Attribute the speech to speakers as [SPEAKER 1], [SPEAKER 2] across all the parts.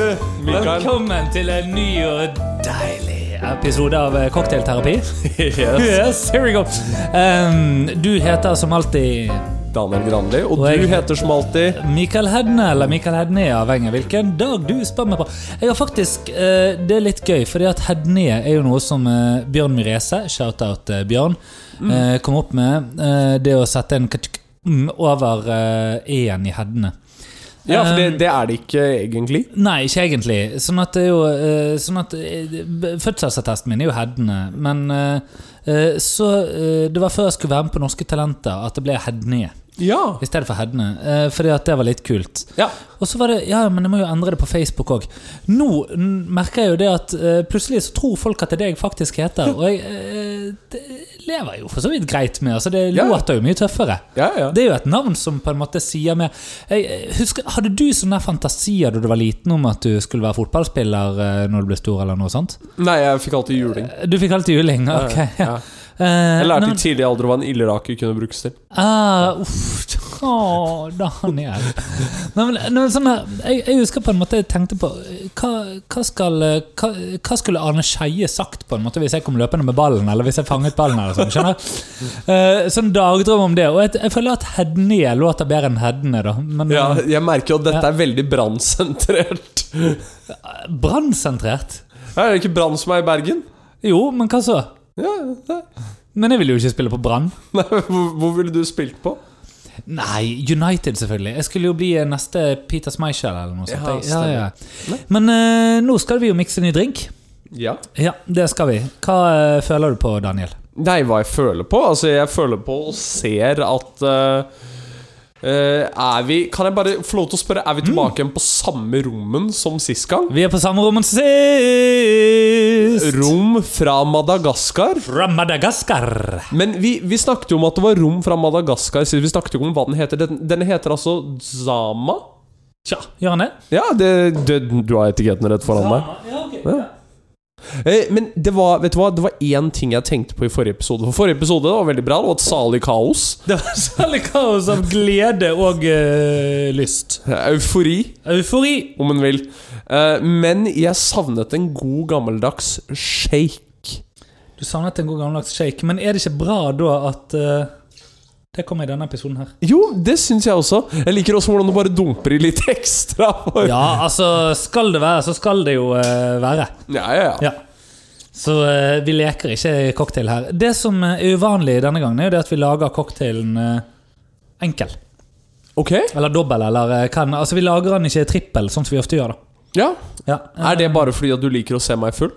[SPEAKER 1] Mikael.
[SPEAKER 2] Velkommen til en ny og deilig episode av Cocktailterapi.
[SPEAKER 1] Yes.
[SPEAKER 2] Yes, here we go. Um, du heter som alltid
[SPEAKER 1] Daniel Grandi. Og
[SPEAKER 2] Og jeg-
[SPEAKER 1] du heter som alltid
[SPEAKER 2] Michael Hedne, eller Michael Hedne, avhengig av hvilken dag du spør meg på. Jeg har faktisk, eh, Det er litt gøy, fordi at Hedne er jo noe som eh, Bjørn Myrese, shout-out eh, Bjørn, eh, kom opp med. eh, det å sette en katuk mm, over eh, E-en i Hedne.
[SPEAKER 1] Ja, for det,
[SPEAKER 2] Um,
[SPEAKER 1] det er det ikke egentlig.
[SPEAKER 2] Nei, ikke egentlig. Sånn at det er jo eh, sånn at eh, b- Fødselsattesten min er jo Hedne, men eh, eh, så eh, Det var før jeg skulle være med på Norske Talenter at det ble Hedne
[SPEAKER 1] Ja.
[SPEAKER 2] i stedet for Hedne, eh, fordi at det var litt kult.
[SPEAKER 1] ja.
[SPEAKER 2] Og så var det Ja, men jeg må jo endre det på Facebook òg. Nå n- merker jeg jo det at eh, plutselig så tror folk at det er det jeg faktisk heter, og jeg eh, det lever jo for så vidt greit med. Altså, det
[SPEAKER 1] Ja.
[SPEAKER 2] låter jo mye tøffere.
[SPEAKER 1] ja, ja.
[SPEAKER 2] Det er jo et navn som på en måte sier mer jeg, jeg husker, Hadde du sånne fantasier da du var liten om at du skulle være fotballspiller eh, når du ble stor? eller noe sånt?
[SPEAKER 1] Nei, jeg fikk alltid juling.
[SPEAKER 2] Du fikk alltid juling? ok. Ja.
[SPEAKER 1] Ja.
[SPEAKER 2] Eh,
[SPEAKER 1] Jeg
[SPEAKER 2] nei,
[SPEAKER 1] lærte
[SPEAKER 2] men-
[SPEAKER 1] i tidlig alder hva en ildrake kunne brukes til.
[SPEAKER 2] Ah, uff, å, Daniel. Nei, men, nei, men sånn, her, jeg, jeg husker på en måte jeg tenkte på eh, Hva, hva, skal, eh, hva, hva skulle Arne Skeie sagt på en måte hvis jeg kom løpende med ballen? Eller hvis jeg fanget ballen? eller sånn, skjønner uh, Sånn dagdrøm om det. Og jeg, jeg føler at Hedne låter bedre enn Hedne. da men,
[SPEAKER 1] Ja,
[SPEAKER 2] eh,
[SPEAKER 1] jeg merker jo at dette er veldig brannsentrert.
[SPEAKER 2] Brannsentrert?
[SPEAKER 1] Er det ikke Brann som er i Bergen?
[SPEAKER 2] Jo, men hva så?
[SPEAKER 1] Ja, nei.
[SPEAKER 2] Men jeg vil jo ikke spille på Brann.
[SPEAKER 1] Nei, hvor, hvor ville du spilt på?
[SPEAKER 2] Nei, United selvfølgelig. Jeg skulle jo bli eh, neste Peter Schmeichel eller noe sånt.
[SPEAKER 1] Ja,
[SPEAKER 2] Jeg- Men eh, nå skal vi jo mikse ny drink.
[SPEAKER 1] Ja.
[SPEAKER 2] Ja, det skal vi. Hva eh, føler du på, Daniel?
[SPEAKER 1] Nei, hva jeg føler på? Altså, jeg føler på og ser at eh, eh, Er vi Kan jeg bare få lov til å spørre, er vi tilbake igjen på samme rommen som sist gang?
[SPEAKER 2] Vi er på samme rommet som sist!
[SPEAKER 1] Rom fra Madagaskar?
[SPEAKER 2] Fra Madagaskar.
[SPEAKER 1] Men vi, vi snakket jo om at det var rom fra Madagaskar sist. Vi snakket jo ikke om hva den heter. Den, den heter altså Zama.
[SPEAKER 2] Tja, gjør han det?
[SPEAKER 1] Ja, det, det, du har etiketten rett foran deg.
[SPEAKER 2] Ja, ok.
[SPEAKER 1] Ja. Eh, Men det var vet du hva, det var én ting jeg tenkte på i forrige episode. For forrige episode var veldig bra. Det var et salig kaos.
[SPEAKER 2] Det var særlig kaos av glede og eh, lyst.
[SPEAKER 1] Eufori,
[SPEAKER 2] Eufori.
[SPEAKER 1] om en vil. Eh, Men jeg savnet en god, gammeldags shake.
[SPEAKER 2] Du savnet en god gammeldags shake, men er det ikke bra da at eh, Det kommer i denne episoden her.
[SPEAKER 1] Jo, det syns jeg også. Jeg liker også hvordan du bare dumper i litt ekstra. For.
[SPEAKER 2] Ja, altså skal det være, så skal det jo eh, være.
[SPEAKER 1] Ja, ja, ja.
[SPEAKER 2] Ja. Så eh, vi leker ikke cocktail her. Det som eh, er uvanlig denne gangen, er jo det at vi lager cocktailen eh, enkel.
[SPEAKER 1] Ok?
[SPEAKER 2] Eller dobbel, eller eh, hva den Altså vi lager den ikke trippel, sånn som vi ofte gjør, da.
[SPEAKER 1] Ja.
[SPEAKER 2] Ja.
[SPEAKER 1] Er det bare fordi at du liker å se meg full?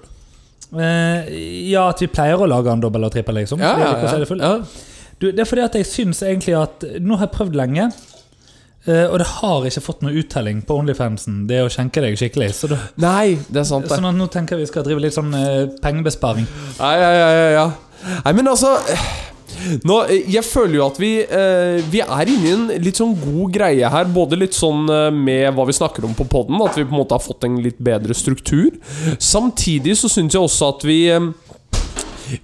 [SPEAKER 2] Eh, ja, at vi pleier å lage den dobbel og trippel, liksom.
[SPEAKER 1] Ja,
[SPEAKER 2] fordi
[SPEAKER 1] ja,
[SPEAKER 2] vi kan se
[SPEAKER 1] ja.
[SPEAKER 2] det full.
[SPEAKER 1] ja.
[SPEAKER 2] Du, det er fordi at jeg syns egentlig at Nå har jeg prøvd lenge, eh, og det har ikke fått noe uttelling på Onlyfansen. Det å skjenke deg skikkelig. Så da,
[SPEAKER 1] Nei, det er sant, det.
[SPEAKER 2] sånn at nå tenker jeg vi skal drive litt sånn eh, pengebesparing.
[SPEAKER 1] Ja, ja, ja, ja, ja. Nei, men altså nå, Jeg føler jo at vi eh, Vi er inne i en litt sånn god greie her. Både litt sånn eh, med hva vi snakker om på poden, at vi på en måte har fått en litt bedre struktur. Samtidig så syns jeg også at vi eh,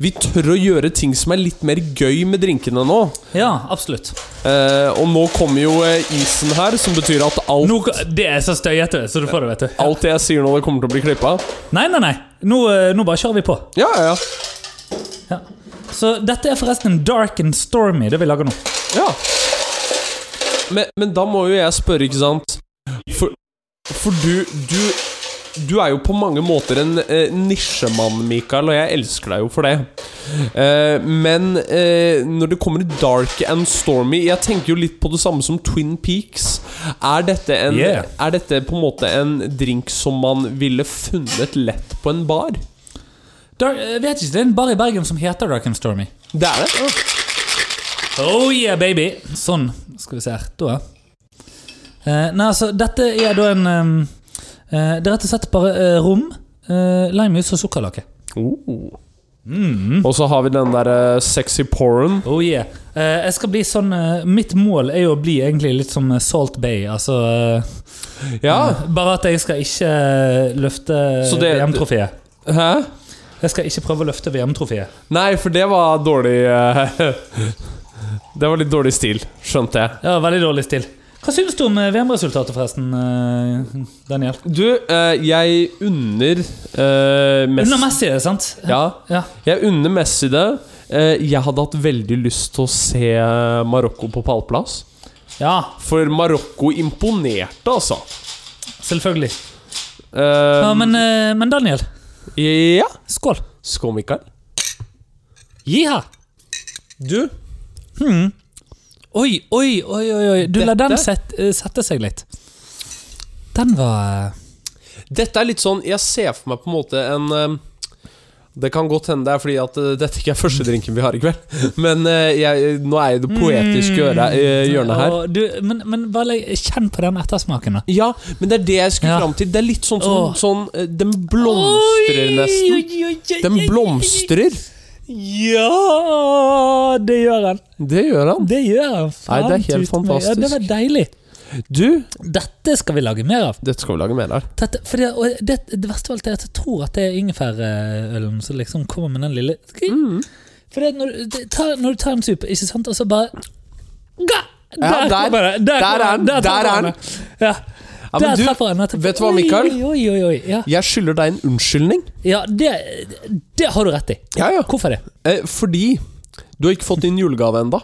[SPEAKER 1] vi tør å gjøre ting som er litt mer gøy med drinkene nå.
[SPEAKER 2] Ja, absolutt.
[SPEAKER 1] Eh, og nå kommer jo eh, isen her, som betyr at alt,
[SPEAKER 2] Nå, det er så støyete, så du får det, vet du.
[SPEAKER 1] alt det jeg sier nå, det kommer til å bli klippa.
[SPEAKER 2] Nei, nei, nei. Nå, eh, nå bare kjører vi på.
[SPEAKER 1] Ja, ja, ja.
[SPEAKER 2] Ja. Så dette er forresten dark and stormy, det vi lager nå.
[SPEAKER 1] Ja. Men, men da må jo jeg spørre, ikke sant For, for du, du Du er jo på mange måter en eh, nisjemann, Mikael, og jeg elsker deg jo for det. Eh, men eh, når det kommer til dark and stormy Jeg tenker jo litt på det samme som Twin Peaks. Er dette, en,
[SPEAKER 2] Yeah.
[SPEAKER 1] er dette på en måte en drink som man ville funnet lett på en bar?
[SPEAKER 2] Dark, jeg vet ikke, Det er en bar i Bergen som heter Dark and Stormy.
[SPEAKER 1] Det er det.
[SPEAKER 2] Oh yeah, baby! Sånn. Skal vi se her. Da. Eh, nei, altså, dette er da en ehm, eh, Det er rett og slett bare eh, rom, uh, limejuice og sukkerlake.
[SPEAKER 1] Oh. Og så har vi den der eh, sexy porren.
[SPEAKER 2] Oh yeah. Eh, jeg skal bli sånn eh, Mitt mål er jo å bli egentlig litt som eh, Salt Bay. Altså eh,
[SPEAKER 1] Ja.
[SPEAKER 2] Bare at jeg skal ikke eh, løfte
[SPEAKER 1] Ah. Så det-
[SPEAKER 2] VM-trofeet.
[SPEAKER 1] Hæ?
[SPEAKER 2] Jeg skal ikke prøve å løfte VM-trofeet.
[SPEAKER 1] Nei, for det var dårlig eh, Det var litt dårlig stil, skjønte jeg.
[SPEAKER 2] Ja, veldig dårlig stil. Hva syns du om eh, VM-resultatet, forresten, eh, Daniel?
[SPEAKER 1] Du, eh, jeg unner eh, Messi
[SPEAKER 2] Under Messi, er det sant?
[SPEAKER 1] Ja,
[SPEAKER 2] Ja.
[SPEAKER 1] jeg unner Messi det. Eh, jeg hadde hatt veldig lyst til å se Marokko på pallplass.
[SPEAKER 2] ja,
[SPEAKER 1] For Marokko imponerte, altså.
[SPEAKER 2] selvfølgelig.
[SPEAKER 1] Eh,
[SPEAKER 2] Ja, men, eh, men Daniel,
[SPEAKER 1] Ja.
[SPEAKER 2] skål.
[SPEAKER 1] Skål, Mikael.
[SPEAKER 2] Jiha!
[SPEAKER 1] Du,
[SPEAKER 2] Hmm. Oi, oi, oi, oi, oi. Du la
[SPEAKER 1] Dette-
[SPEAKER 2] den set, eh, sette seg litt. Den var eh,
[SPEAKER 1] dette er litt sånn Jeg ser for meg på en måte en eh, Det kan godt hende det er fordi at eh, dette ikke er første drinken vi har i kveld, men eh, jeg, nå er jeg i det poetiske
[SPEAKER 2] Mm.
[SPEAKER 1] øre- eh, hjørnet her.
[SPEAKER 2] Åh, Du, men, men bare legg- kjenn på den ettersmaken, da.
[SPEAKER 1] Ja, men det er det jeg skulle
[SPEAKER 2] Ja.
[SPEAKER 1] fram til. Det er litt sånn som
[SPEAKER 2] Åh.
[SPEAKER 1] sånn, eh, Den blomstrer
[SPEAKER 2] Oi,
[SPEAKER 1] nesten.
[SPEAKER 2] oi, oi, oi,
[SPEAKER 1] Den
[SPEAKER 2] oi,
[SPEAKER 1] blomstrer.
[SPEAKER 2] Ja, det gjør han.
[SPEAKER 1] Det gjør han.
[SPEAKER 2] Det gjør han.
[SPEAKER 1] Nei, det er
[SPEAKER 2] Faen
[SPEAKER 1] helt
[SPEAKER 2] tut meg. Ja, det var deilig.
[SPEAKER 1] Du,
[SPEAKER 2] Dette skal vi lage mer av.
[SPEAKER 1] dette skal vi lage mer av.
[SPEAKER 2] Dette, for det, og det, det verste av alt er at jeg tror at det er ingefærølen som liksom kommer med den lille
[SPEAKER 1] Mm.
[SPEAKER 2] For det, er når, du- det, tar, når du tar en sup, ikke sant, og så bare Ga!
[SPEAKER 1] Ja, der-
[SPEAKER 2] kommer det,
[SPEAKER 1] der
[SPEAKER 2] kommer
[SPEAKER 1] er den,
[SPEAKER 2] det,
[SPEAKER 1] der
[SPEAKER 2] treffer
[SPEAKER 1] er
[SPEAKER 2] han det. Ja,
[SPEAKER 1] Ja,
[SPEAKER 2] der
[SPEAKER 1] men du,
[SPEAKER 2] treffer han det.
[SPEAKER 1] vet du hva, Mikael?
[SPEAKER 2] Oi, oi, oi, oi. Ja,
[SPEAKER 1] jeg skylder deg en unnskyldning.
[SPEAKER 2] ja det, det har du rett i.
[SPEAKER 1] Ja, ja.
[SPEAKER 2] Hvorfor det?
[SPEAKER 1] Eh, fordi du har ikke fått din julegave enda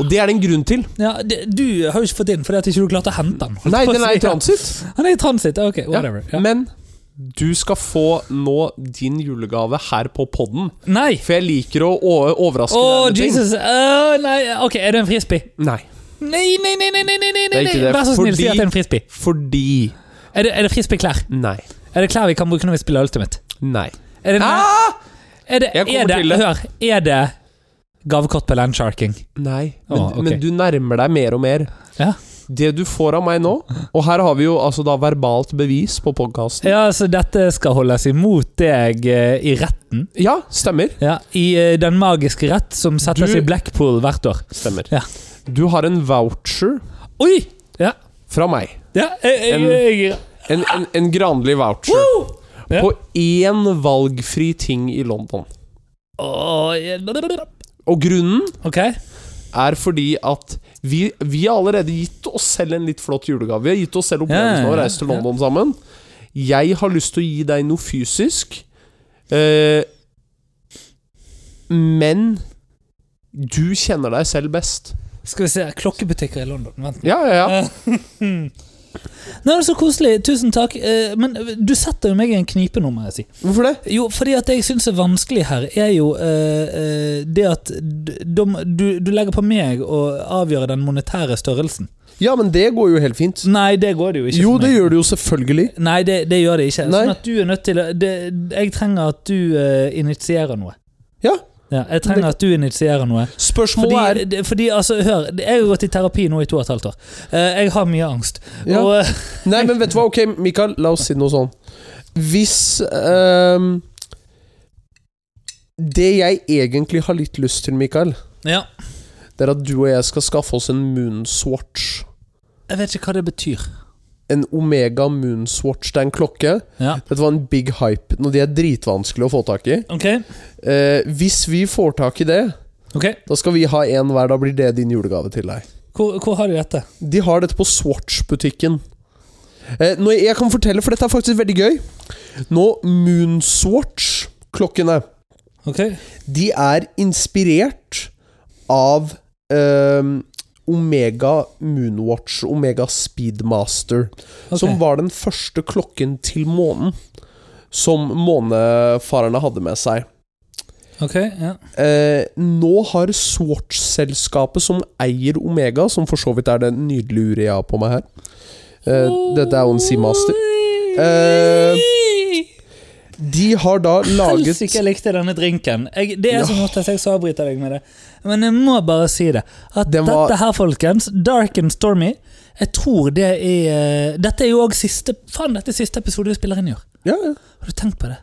[SPEAKER 1] Og det er det en grunn til.
[SPEAKER 2] Ja, det? Du har jo ikke fått inn fordi at ikke du klarte å hente den.
[SPEAKER 1] Nei, den er i transit.
[SPEAKER 2] Han er i transit. Ok, whatever.
[SPEAKER 1] Ja.
[SPEAKER 2] Ja.
[SPEAKER 1] Men du skal få nå din julegave her på podden.
[SPEAKER 2] Nei!
[SPEAKER 1] For jeg liker å å- overraske
[SPEAKER 2] Å,
[SPEAKER 1] deg med ting.
[SPEAKER 2] Jesus! Å, nei. Ok, er det en frisbee?
[SPEAKER 1] Nei.
[SPEAKER 2] Nei, nei, nei, nei, nei, nei, nei,
[SPEAKER 1] Det er ikke
[SPEAKER 2] nei.
[SPEAKER 1] det,
[SPEAKER 2] Vær så snill, si
[SPEAKER 1] fordi-
[SPEAKER 2] at det er en frisbee.
[SPEAKER 1] Fordi
[SPEAKER 2] Er det, er det frisbee-klær?
[SPEAKER 1] Nei.
[SPEAKER 2] Er det klær vi kan bruke når vi spiller Ultimate?
[SPEAKER 1] Nei.
[SPEAKER 2] Er det,
[SPEAKER 1] Ah!
[SPEAKER 2] er det,
[SPEAKER 1] Jeg kommer
[SPEAKER 2] er det,
[SPEAKER 1] til det.
[SPEAKER 2] Hør, er det gavekort på landsharking?
[SPEAKER 1] Nei. Men,
[SPEAKER 2] Å, Ah, ok.
[SPEAKER 1] men du nærmer deg mer og mer.
[SPEAKER 2] Ja.
[SPEAKER 1] Det du får av meg nå Og her har vi jo altså da verbalt bevis på podkasten.
[SPEAKER 2] ja, så dette skal holdes imot deg eh, i retten?
[SPEAKER 1] Ja, stemmer.
[SPEAKER 2] Ja, I eh, den magiske rett som settes
[SPEAKER 1] Du-
[SPEAKER 2] i Blackpool hvert år.
[SPEAKER 1] Stemmer.
[SPEAKER 2] Ja.
[SPEAKER 1] Du har en voucher
[SPEAKER 2] Oi! Ja,
[SPEAKER 1] fra meg.
[SPEAKER 2] ja jeg, jeg,
[SPEAKER 1] En-
[SPEAKER 2] jeg, jeg
[SPEAKER 1] En, en, en granlig voucher.
[SPEAKER 2] Woo! Ja.
[SPEAKER 1] På én valgfri ting i London.
[SPEAKER 2] Åh, jeg-
[SPEAKER 1] Og grunnen
[SPEAKER 2] Ok.
[SPEAKER 1] er fordi at vi, vi har allerede gitt oss selv en litt flott julegave. Vi har gitt oss selv
[SPEAKER 2] Ja,
[SPEAKER 1] opplevelsen
[SPEAKER 2] ja,
[SPEAKER 1] av å
[SPEAKER 2] ja,
[SPEAKER 1] reise til London sammen. Jeg har lyst til å gi deg noe fysisk, eh, men du kjenner deg selv best.
[SPEAKER 2] Skal vi se. Klokkebutikker i London. Vent.
[SPEAKER 1] Ja, ja, ja.
[SPEAKER 2] Nei, men Så koselig. Tusen takk. Eh, Men du setter jo meg i en knipe nå, må jeg si.
[SPEAKER 1] Hvorfor det?
[SPEAKER 2] Jo, fordi at det jeg syns er vanskelig her, er jo eh, eh, det at d- dom- du, du legger på meg å avgjøre den monetære størrelsen.
[SPEAKER 1] Ja, men det går jo helt fint.
[SPEAKER 2] Nei, det går det jo ikke.
[SPEAKER 1] Jo,
[SPEAKER 2] for
[SPEAKER 1] det
[SPEAKER 2] meg.
[SPEAKER 1] gjør det jo selvfølgelig.
[SPEAKER 2] Nei, det, det gjør det ikke.
[SPEAKER 1] Nei.
[SPEAKER 2] Sånn at du er nødt til å det, Jeg trenger at du eh, initierer noe.
[SPEAKER 1] Ja.
[SPEAKER 2] Ja, jeg trenger at du initierer noe.
[SPEAKER 1] Spørsmålet er
[SPEAKER 2] Fordi, det- fordi altså, hør, jeg har gått i terapi nå i to og et halvt år. Eh, Jeg har mye angst.
[SPEAKER 1] Ja.
[SPEAKER 2] Og eh,
[SPEAKER 1] Nei, men vet du hva? Ok, Mikael, la oss si noe sånn. Hvis ehm, Det jeg egentlig har litt lyst til, Mikael,
[SPEAKER 2] ja,
[SPEAKER 1] det er at du og jeg skal skaffe oss en moonswatch.
[SPEAKER 2] jeg vet ikke hva det betyr.
[SPEAKER 1] En Omega moonswatch. Det er en klokke.
[SPEAKER 2] Ja.
[SPEAKER 1] Dette var en big hype. Nå, De er dritvanskelige å få tak i.
[SPEAKER 2] Ok,
[SPEAKER 1] Eh, hvis vi får tak i det,
[SPEAKER 2] ok.
[SPEAKER 1] da skal vi ha en hver. Da blir det din julegave til deg.
[SPEAKER 2] Hvor, hvor har du dette?
[SPEAKER 1] De har dette på Swatch-butikken. Eh, når jeg kan fortelle, for dette er faktisk veldig gøy Nå, Moonswatch-klokkene
[SPEAKER 2] Ok,
[SPEAKER 1] De er inspirert av eh, Omega Moonwatch, Omega Speedmaster,
[SPEAKER 2] Ok.
[SPEAKER 1] som var den første klokken til månen. Som månefarerne hadde med seg.
[SPEAKER 2] ok, ja.
[SPEAKER 1] Eh, nå har Swatch-selskapet som eier Omega, som for så vidt er det nydelige uret jeg har på meg her eh, Dette er jo en Seamaster. Eh, De har da laget
[SPEAKER 2] Helsike, jeg likte denne drinken. Jeg, det er
[SPEAKER 1] Ja.
[SPEAKER 2] så godt at jeg så avbryter deg med det. Men jeg må bare si det. At
[SPEAKER 1] Den var-
[SPEAKER 2] dette her, folkens, Dark and Stormy Jeg tror det er eh, Dette er jo òg siste Faen, dette er siste episode vi spiller inn i år.
[SPEAKER 1] ja, ja.
[SPEAKER 2] Har du tenkt på det?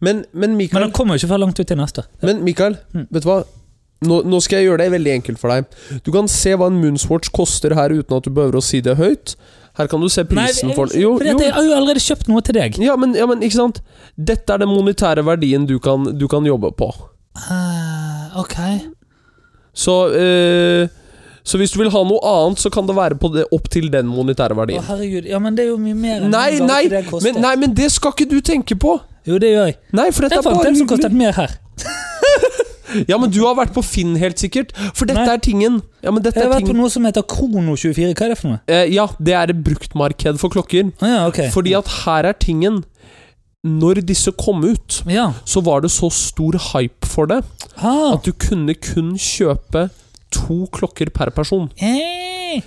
[SPEAKER 1] Men,
[SPEAKER 2] Men
[SPEAKER 1] men
[SPEAKER 2] Hmm.
[SPEAKER 1] Mikael,
[SPEAKER 2] den kommer jo ikke før langt ut i neste år.
[SPEAKER 1] men Mikael vet du hva? Nå, nå skal jeg gjøre det veldig enkelt for deg. Du kan se hva en Moonswatch koster her uten at du behøver å si det høyt. Her kan du se prisen
[SPEAKER 2] jeg,
[SPEAKER 1] for den. Jo,
[SPEAKER 2] fordi at
[SPEAKER 1] jo.
[SPEAKER 2] jeg har jo allerede kjøpt noe til deg.
[SPEAKER 1] Ja, men, ja, men ikke sant? Dette er den monetære verdien du kan, du kan jobbe på.
[SPEAKER 2] Ah, ok.
[SPEAKER 1] Så eh, Så hvis du vil ha noe annet, så kan det være på det, opp til den monetære
[SPEAKER 2] Å,
[SPEAKER 1] verdien.
[SPEAKER 2] herregud. Ja, men det er jo mye mer enn
[SPEAKER 1] Nei,
[SPEAKER 2] den gave
[SPEAKER 1] nei
[SPEAKER 2] det koster.
[SPEAKER 1] men, nei, men det skal ikke du tenke på!
[SPEAKER 2] Jo, det gjør jeg.
[SPEAKER 1] Nei, for dette
[SPEAKER 2] Jeg
[SPEAKER 1] er bare
[SPEAKER 2] fant en som
[SPEAKER 1] hyggelig.
[SPEAKER 2] kostet mer her.
[SPEAKER 1] Ja, men du har vært på Finn, helt sikkert. For dette
[SPEAKER 2] Nei.
[SPEAKER 1] er tingen. Ja, men dette
[SPEAKER 2] Jeg har
[SPEAKER 1] er
[SPEAKER 2] vært på
[SPEAKER 1] ting
[SPEAKER 2] noe som heter Krono24. Hva er det for noe?
[SPEAKER 1] eh, Ja, det er et bruktmarked for klokker.
[SPEAKER 2] Å ja, ok.
[SPEAKER 1] Fordi at her er tingen. Når disse kom ut,
[SPEAKER 2] Ja.
[SPEAKER 1] så var det så stor hype for det
[SPEAKER 2] Ah.
[SPEAKER 1] at du kunne kun kjøpe to klokker per person.
[SPEAKER 2] Eh.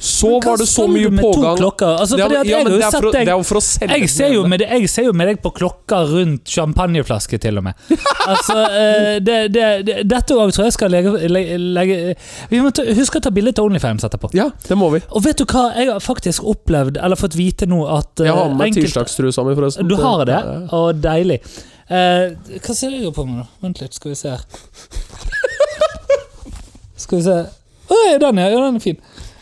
[SPEAKER 1] Så
[SPEAKER 2] Men hva
[SPEAKER 1] var det så
[SPEAKER 2] skal
[SPEAKER 1] mye
[SPEAKER 2] du med
[SPEAKER 1] pågang
[SPEAKER 2] To klokker? altså,
[SPEAKER 1] Ja,
[SPEAKER 2] fordi
[SPEAKER 1] men-
[SPEAKER 2] at
[SPEAKER 1] ja,
[SPEAKER 2] jeg
[SPEAKER 1] men
[SPEAKER 2] har
[SPEAKER 1] det
[SPEAKER 2] jo
[SPEAKER 1] er for å-
[SPEAKER 2] sett
[SPEAKER 1] Det
[SPEAKER 2] deg
[SPEAKER 1] er jo for å selge
[SPEAKER 2] jeg
[SPEAKER 1] den
[SPEAKER 2] ser, jo
[SPEAKER 1] ene.
[SPEAKER 2] med deg, jeg ser jo med deg på klokker rundt champagneflasker, til og med. Altså, eh, det, det, det, dette òg tror jeg skal legge, legge, legge Vi må ta, huske å ta bilde til Onlyfans etterpå.
[SPEAKER 1] Ja, det må vi.
[SPEAKER 2] Og vet du hva jeg har faktisk opplevd, eller fått vite nå, at eh,
[SPEAKER 1] Jeg har med meg
[SPEAKER 2] enkelte-
[SPEAKER 1] tirsdagstrusa mi, forresten.
[SPEAKER 2] Du har det?
[SPEAKER 1] Ja, ja.
[SPEAKER 2] Og deilig. Eh, hva ser jeg på med, da? Vent litt, skal vi se her. Skal vi se Oi, den, ja. ja, Den er fin.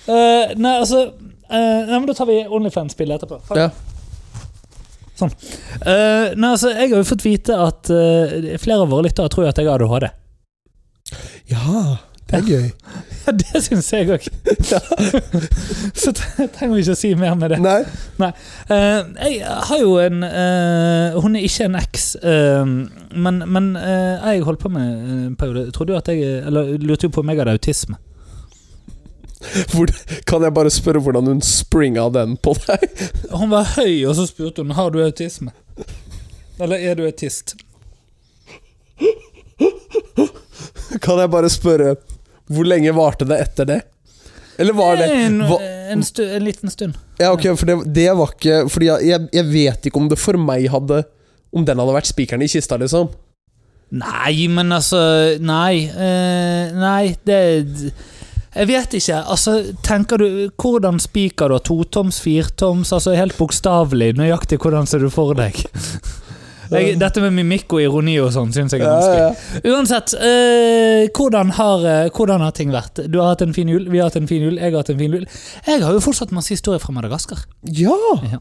[SPEAKER 2] Eh, nei, altså eh, Nei, men Da tar vi Onlyfans-bildet etterpå. Fuck.
[SPEAKER 1] Ja.
[SPEAKER 2] Sånn. Eh, nei, altså, jeg har jo fått vite at eh, flere av våre lyttere tror jo at jeg har ADHD.
[SPEAKER 1] ja, Ah, det er gøy.
[SPEAKER 2] Ja, det syns jeg òg. Så t- trenger vi ikke å si mer med det.
[SPEAKER 1] Nei.
[SPEAKER 2] Eh, jeg har jo en eh, Hun er ikke en eks, eh, men, men eh, jeg holdt på med eh, en periode. Trodde jo at jeg Eller lurte jo på om jeg hadde autisme.
[SPEAKER 1] Hvor, kan jeg bare spørre hvordan hun springa den på deg?
[SPEAKER 2] Hun var høy, og så spurte hun har du autisme. Eller er du autist?
[SPEAKER 1] Kan jeg bare spørre Hvor lenge varte det etter det? Eller var det
[SPEAKER 2] En,
[SPEAKER 1] hva,
[SPEAKER 2] en, stu, en liten stund.
[SPEAKER 1] Ja, ok, for det, det var ikke Fordi jeg, jeg- jeg vet ikke om det for meg hadde Om den hadde vært spikeren i kista, liksom.
[SPEAKER 2] Nei, men altså Nei. eh, nei, det Jeg vet ikke. Altså, tenker du Hvordan spiker du? Totoms, firtoms? Altså helt bokstavelig, nøyaktig hvordan ser du for deg? Jeg, dette med mimikk og ironi og sånn syns jeg er vanskelig. Uansett, eh, hvordan, har, eh, hvordan har ting vært? Du har hatt en fin jul, vi har hatt en fin jul, jeg har hatt en fin jul. Jeg har jo fortsatt masse historier fra Madagaskar.
[SPEAKER 1] ja.
[SPEAKER 2] Ja.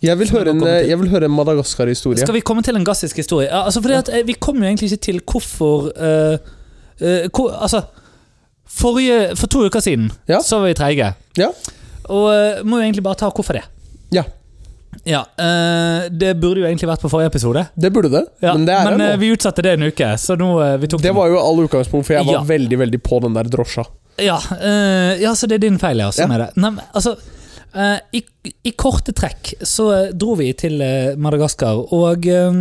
[SPEAKER 1] Jeg vil høre en,
[SPEAKER 2] Velkommen til.
[SPEAKER 1] jeg vil høre en Madagaskar-historie.
[SPEAKER 2] Skal vi komme til en gassisk historie? Ja, altså fordi at eh, Vi kom jo egentlig ikke til hvorfor eh, eh, hvor, Altså forrige, For to uker siden
[SPEAKER 1] Ja.
[SPEAKER 2] så var vi treige.
[SPEAKER 1] Ja.
[SPEAKER 2] Og eh, må jo egentlig bare ta hvorfor det.
[SPEAKER 1] Ja,
[SPEAKER 2] Ja, eh, Det burde jo egentlig vært på forrige episode,
[SPEAKER 1] det burde det.
[SPEAKER 2] ja,
[SPEAKER 1] Men det er
[SPEAKER 2] eh,
[SPEAKER 1] det nå.
[SPEAKER 2] vi utsatte det en uke. Så nå eh, vi tok
[SPEAKER 1] Det
[SPEAKER 2] den.
[SPEAKER 1] var jo all utgangspunkt, for jeg var
[SPEAKER 2] Ja.
[SPEAKER 1] veldig veldig på den der drosja.
[SPEAKER 2] ja, eh, ja, så det er din feil, ja. Sånn
[SPEAKER 1] Ja.
[SPEAKER 2] er det. Nei, men, altså, eh, i, I korte trekk så eh, dro vi til eh, Madagaskar, og eh,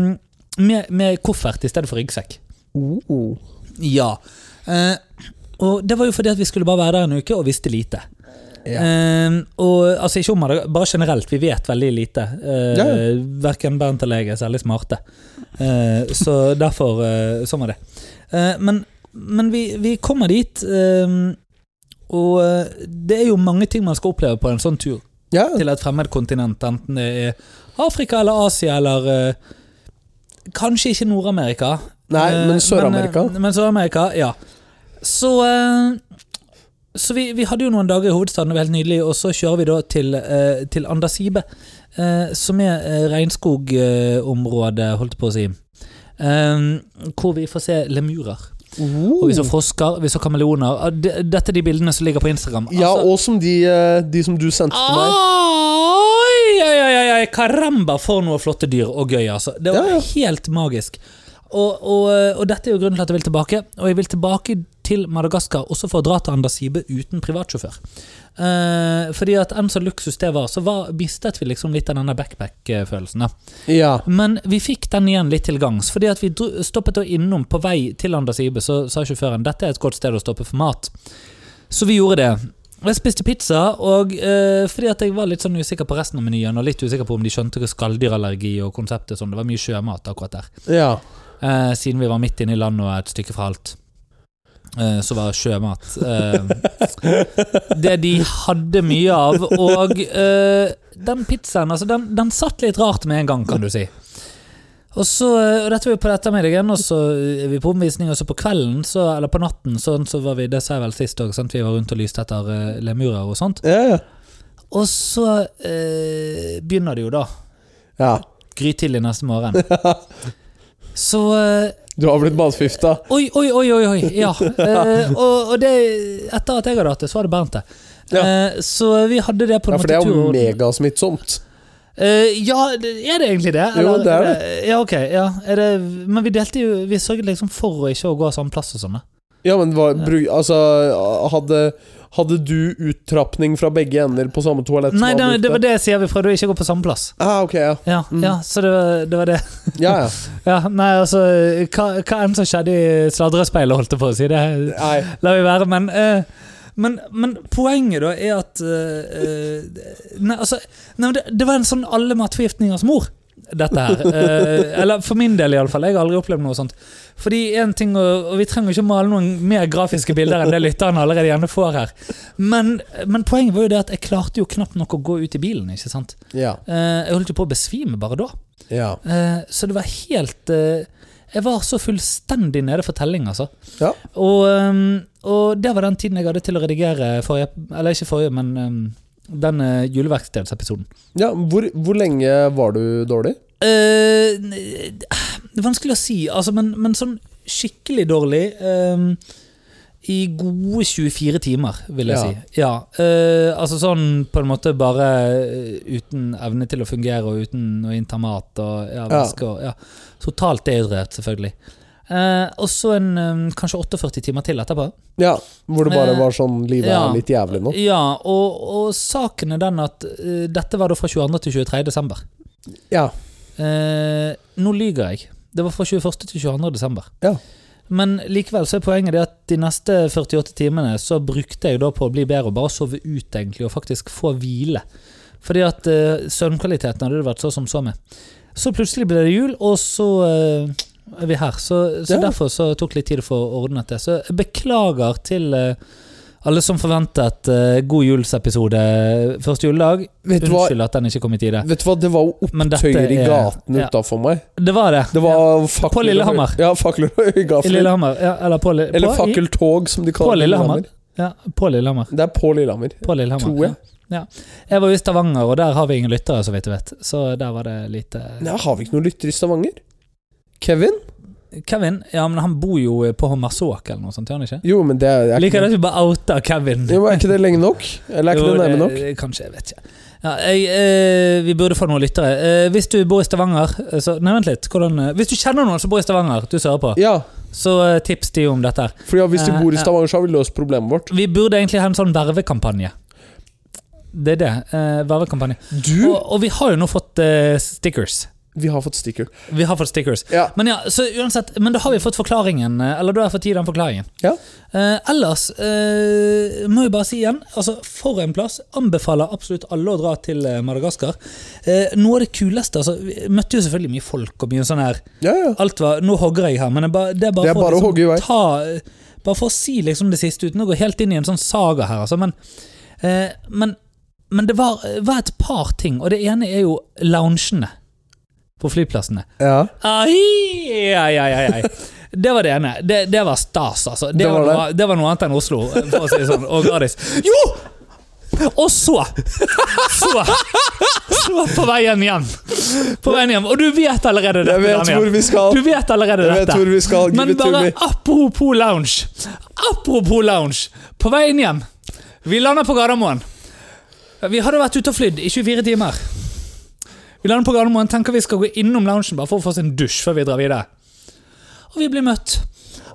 [SPEAKER 2] med, med koffert i stedet for ryggsekk.
[SPEAKER 1] Oh.
[SPEAKER 2] Ja. Eh, og det var jo fordi at vi skulle bare være der en uke og visste lite.
[SPEAKER 1] Ja.
[SPEAKER 2] Eh, og altså ikke om Madaga- Bare generelt, vi vet veldig lite. Eh,
[SPEAKER 1] Ja,
[SPEAKER 2] Verken Bernt eller jeg er særlig smarte. Eh, så derfor eh, Sånn var det. Eh, men men vi, vi kommer dit, eh, og eh, det er jo mange ting man skal oppleve på en sånn tur
[SPEAKER 1] Ja.
[SPEAKER 2] til et fremmed kontinent, enten det er Afrika eller Asia eller eh, Kanskje ikke Nord-Amerika.
[SPEAKER 1] Nei,
[SPEAKER 2] Eh,
[SPEAKER 1] men Sør-Amerika.
[SPEAKER 2] Men, eh, men Sør-Amerika, ja. Så eh, så vi, vi hadde jo noen dager i hovedstaden, det var helt nydelig, og så kjører vi da til, eh, til Andasibe, eh, som er eh, regnskogområdet, holdt jeg på å si, eh, hvor vi får se lemurer. Og
[SPEAKER 1] Oh.
[SPEAKER 2] vi så frosker, vi så kameleoner. Ah, det- Dette er de bildene som ligger på Instagram.
[SPEAKER 1] Ja,
[SPEAKER 2] Altså- Ah!
[SPEAKER 1] og som de, eh, de som du sendte til meg.
[SPEAKER 2] Oi, oi, oi, oi, oi. Karamba, for noe flotte dyr og gøy, altså. Det var
[SPEAKER 1] Ja, ja.
[SPEAKER 2] helt magisk. Og, og, eh, og dette er jo grunnen til at jeg vil tilbake. Og jeg vil tilbake til Madagaskar også for å dra til Andasibe uten privatsjåfør. Eh, fordi at enn så luksus det var, så var, mistet vi liksom litt av denne backpack-følelsen. da.
[SPEAKER 1] Ja.
[SPEAKER 2] Men vi fikk den igjen litt til gangs. Fordi at vi dro- stoppet da innom på vei til Andasibe, så sa sjåføren dette er et godt sted å stoppe for mat. Så vi gjorde det. Og Jeg spiste pizza, og eh, fordi at jeg var litt sånn usikker på resten av menyen, og litt usikker på om de skjønte hva skalldyrallergi og konseptet sånn. Det var mye sjømat akkurat der.
[SPEAKER 1] ja.
[SPEAKER 2] Eh, siden vi var midt inne i landet og et stykke fra alt. Eh, så var sjømat eh, det de hadde mye av. Og eh, den pizzaen, altså, den, den satt litt rart med en gang, kan du si. Og så, eh, og dette var jo på ettermiddagen, og så eh, er vi på omvisning, og så på kvelden, så, eller på natten, sånn, så var vi, det sa jeg vel sist òg, vi var rundt og lyste etter eh, lemurer og sånt.
[SPEAKER 1] Ja, ja.
[SPEAKER 2] Og så eh, begynner det jo da
[SPEAKER 1] ja.
[SPEAKER 2] grytidlig neste morgen. Så eh,
[SPEAKER 1] Du har blitt matforgifta.
[SPEAKER 2] Oi, oi, oi, oi! oi. Ja. Eh, og og det, etter at jeg hadde hatt det, så var det Bernt det.
[SPEAKER 1] Ja.
[SPEAKER 2] Eh, så vi hadde det på
[SPEAKER 1] Ja,
[SPEAKER 2] en
[SPEAKER 1] for det
[SPEAKER 2] måte
[SPEAKER 1] er jo
[SPEAKER 2] tur-
[SPEAKER 1] megasmittsomt.
[SPEAKER 2] Eh, ja, det- er det egentlig det?
[SPEAKER 1] Jo, det er
[SPEAKER 2] det. Ja, ok. Ja. Er det, men vi delte jo Vi sørget liksom for å ikke å gå av samme plass og sånn. da.
[SPEAKER 1] Ja, men hva, bru, altså, hadde, hadde du uttrappning fra begge ender på samme toalett? som
[SPEAKER 2] Nei, det,
[SPEAKER 1] avgifta?
[SPEAKER 2] det var det jeg sier. Vi prøvde å ikke gå på samme plass.
[SPEAKER 1] Ah, ok, ja.
[SPEAKER 2] Ja,
[SPEAKER 1] Mm.
[SPEAKER 2] ja så det var, det var det.
[SPEAKER 1] ja, ja.
[SPEAKER 2] Ja, nei, altså Hva, hva enn som skjedde i sladrespeilet, holdt jeg på å si. Det
[SPEAKER 1] Nei.
[SPEAKER 2] lar vi være. Men, eh, men, men poenget, da, er at eh, eh, Nei, altså nei, men det, det var en sånn alle matforgiftningers mor, dette her. Eh, eller for min del, iallfall. Jeg har aldri opplevd noe sånt. Fordi en ting, og, og Vi trenger ikke male noen mer grafiske bilder enn det lytterne allerede gjerne får her. Men, men poenget var jo det at jeg klarte jo knapt nok å gå ut i bilen. ikke sant?
[SPEAKER 1] Ja.
[SPEAKER 2] Eh, jeg holdt jo på å besvime bare da.
[SPEAKER 1] Ja.
[SPEAKER 2] Eh, så det var helt eh, Jeg var så fullstendig nede for telling, altså.
[SPEAKER 1] Ja.
[SPEAKER 2] Og, ehm, og det var den tiden jeg hadde til å redigere forrige Eller ikke forrige, men ehm, den eh, juleverkstedsepisoden.
[SPEAKER 1] ja hvor, hvor lenge var du dårlig?
[SPEAKER 2] Eh, det er vanskelig å si, altså, men, men sånn skikkelig dårlig ehm, I gode 24 timer, vil jeg
[SPEAKER 1] Ja.
[SPEAKER 2] si. Ja. eh, altså sånn på en måte bare eh, uten evne til å fungere og uten å innta mat og ja,
[SPEAKER 1] Ja.
[SPEAKER 2] væske og ja. Totalt dehydrert, selvfølgelig. Eh, og så en ehm, kanskje 48 timer til etterpå.
[SPEAKER 1] Ja, Hvor det bare
[SPEAKER 2] Eh,
[SPEAKER 1] var sånn Livet
[SPEAKER 2] ja.
[SPEAKER 1] er litt jævlig nå?
[SPEAKER 2] Ja, og, og saken er den at eh, dette var da fra 22. til 23. desember.
[SPEAKER 1] Ja.
[SPEAKER 2] Eh, nå lyger jeg. Det var fra 21. til 22. desember.
[SPEAKER 1] Ja.
[SPEAKER 2] Men likevel så er poenget det at de neste 48 timene så brukte jeg da på å bli bedre og bare sove ut, egentlig, og faktisk få hvile. Fordi at eh, søvnkvaliteten hadde det vært så som så med. Så plutselig ble det jul, og så eh, er vi her. Så, så
[SPEAKER 1] Ja.
[SPEAKER 2] derfor så tok litt tid å få ordnet det. Så jeg beklager til eh, alle som forventet eh, god julsepisode eh, første juledag.
[SPEAKER 1] Vet du hva?
[SPEAKER 2] Unnskyld at den ikke kom i tide.
[SPEAKER 1] Vet du hva, det var jo
[SPEAKER 2] Men dette
[SPEAKER 1] opptøyer i
[SPEAKER 2] er-
[SPEAKER 1] gatene
[SPEAKER 2] ja.
[SPEAKER 1] utafor meg.
[SPEAKER 2] Det var det.
[SPEAKER 1] Det var fakler
[SPEAKER 2] På Lillehammer.
[SPEAKER 1] og høy- Ja, fakler og
[SPEAKER 2] I
[SPEAKER 1] høygafler.
[SPEAKER 2] Lillehammer. Ja, eller på, Li-
[SPEAKER 1] Eller
[SPEAKER 2] på, i,
[SPEAKER 1] fakkeltog, som de
[SPEAKER 2] på
[SPEAKER 1] kaller det. i
[SPEAKER 2] Lillehammer. Ja, på Lillehammer.
[SPEAKER 1] Det er på Lillehammer.
[SPEAKER 2] På Lillehammer.
[SPEAKER 1] Tror jeg.
[SPEAKER 2] Ja. Ja. Jeg var jo i Stavanger, og der har vi ingen lyttere, så vidt jeg vet. Så der var det lite
[SPEAKER 1] Nei, har vi ikke noen lytter i Stavanger? Kevin?
[SPEAKER 2] Kevin, ja, men han bor jo på Hommersåk eller noe sånt, gjør han ikke?
[SPEAKER 1] Jo, men det er, er,
[SPEAKER 2] Liker
[SPEAKER 1] ikke,
[SPEAKER 2] det at vi bare outer Kevin.
[SPEAKER 1] jo, er ikke det lenge nok? Eller er
[SPEAKER 2] Jo,
[SPEAKER 1] ikke det nærme nok?
[SPEAKER 2] det- Kanskje, jeg vet ikke. Ja, jeg, eh, vi burde få noen lyttere. Eh, hvis du bor i Stavanger eh, så, Nei, vent litt. Hvordan, eh, hvis du kjenner noen som bor i Stavanger, du som hører på,
[SPEAKER 1] Ja,
[SPEAKER 2] så eh, tips de om dette. her
[SPEAKER 1] for hvis de
[SPEAKER 2] Eh,
[SPEAKER 1] bor i
[SPEAKER 2] ja.
[SPEAKER 1] Stavanger, så har vi løst problemet vårt.
[SPEAKER 2] Vi burde egentlig ha en sånn vervekampanje. Det er det. Eh, vervekampanje.
[SPEAKER 1] Du?
[SPEAKER 2] Og, og vi har jo nå fått eh, stickers.
[SPEAKER 1] Vi har fått sticker.
[SPEAKER 2] Vi har fått stickers.
[SPEAKER 1] Ja.
[SPEAKER 2] Men ja, så uansett, men da har vi fått forklaringen. eh, Eller da har jeg fått gi den forklaringen.
[SPEAKER 1] Ja.
[SPEAKER 2] Eh, ellers eh, må jeg bare si igjen, altså for en plass. Anbefaler absolutt alle å dra til eh, Madagaskar. Eh, noe av det kuleste altså, Vi møtte jo selvfølgelig mye folk og mye sånn her
[SPEAKER 1] Ja, ja.
[SPEAKER 2] Alt var, Nå hogger jeg her, men det er bare, det er bare,
[SPEAKER 1] Det er
[SPEAKER 2] for, liksom
[SPEAKER 1] bare å hogge i vei.
[SPEAKER 2] ta, bare for å si liksom det siste, uten å gå helt inn i en sånn saga her, altså. Men, eh, men, men det var, var et par ting, og det ene er jo loungene på flyplassene.
[SPEAKER 1] ja.
[SPEAKER 2] Ai, ai, ai, ai, ai. Det var det ene. Det, det var stas, altså. Det,
[SPEAKER 1] Det
[SPEAKER 2] var,
[SPEAKER 1] var det.
[SPEAKER 2] noe, det var noe annet enn Oslo, for å si det sånn. Og gratis. Jo! Og så Så, så på veien hjem. På veien hjem. Og du vet allerede dette.
[SPEAKER 1] Jeg vet
[SPEAKER 2] Daniel.
[SPEAKER 1] hvor vi skal.
[SPEAKER 2] Du vet allerede
[SPEAKER 1] Jeg vet
[SPEAKER 2] dette.
[SPEAKER 1] hvor vi skal. Give
[SPEAKER 2] Men
[SPEAKER 1] it to
[SPEAKER 2] bare
[SPEAKER 1] me.
[SPEAKER 2] apropos lounge. Apropos lounge. På veien hjem. Vi lander på Gardermoen. Vi hadde vært ute og flydd i 24 timer. Vi lander på Gardermoen, tenker vi skal gå innom loungen bare for å få oss en dusj før vi drar videre. Og vi blir møtt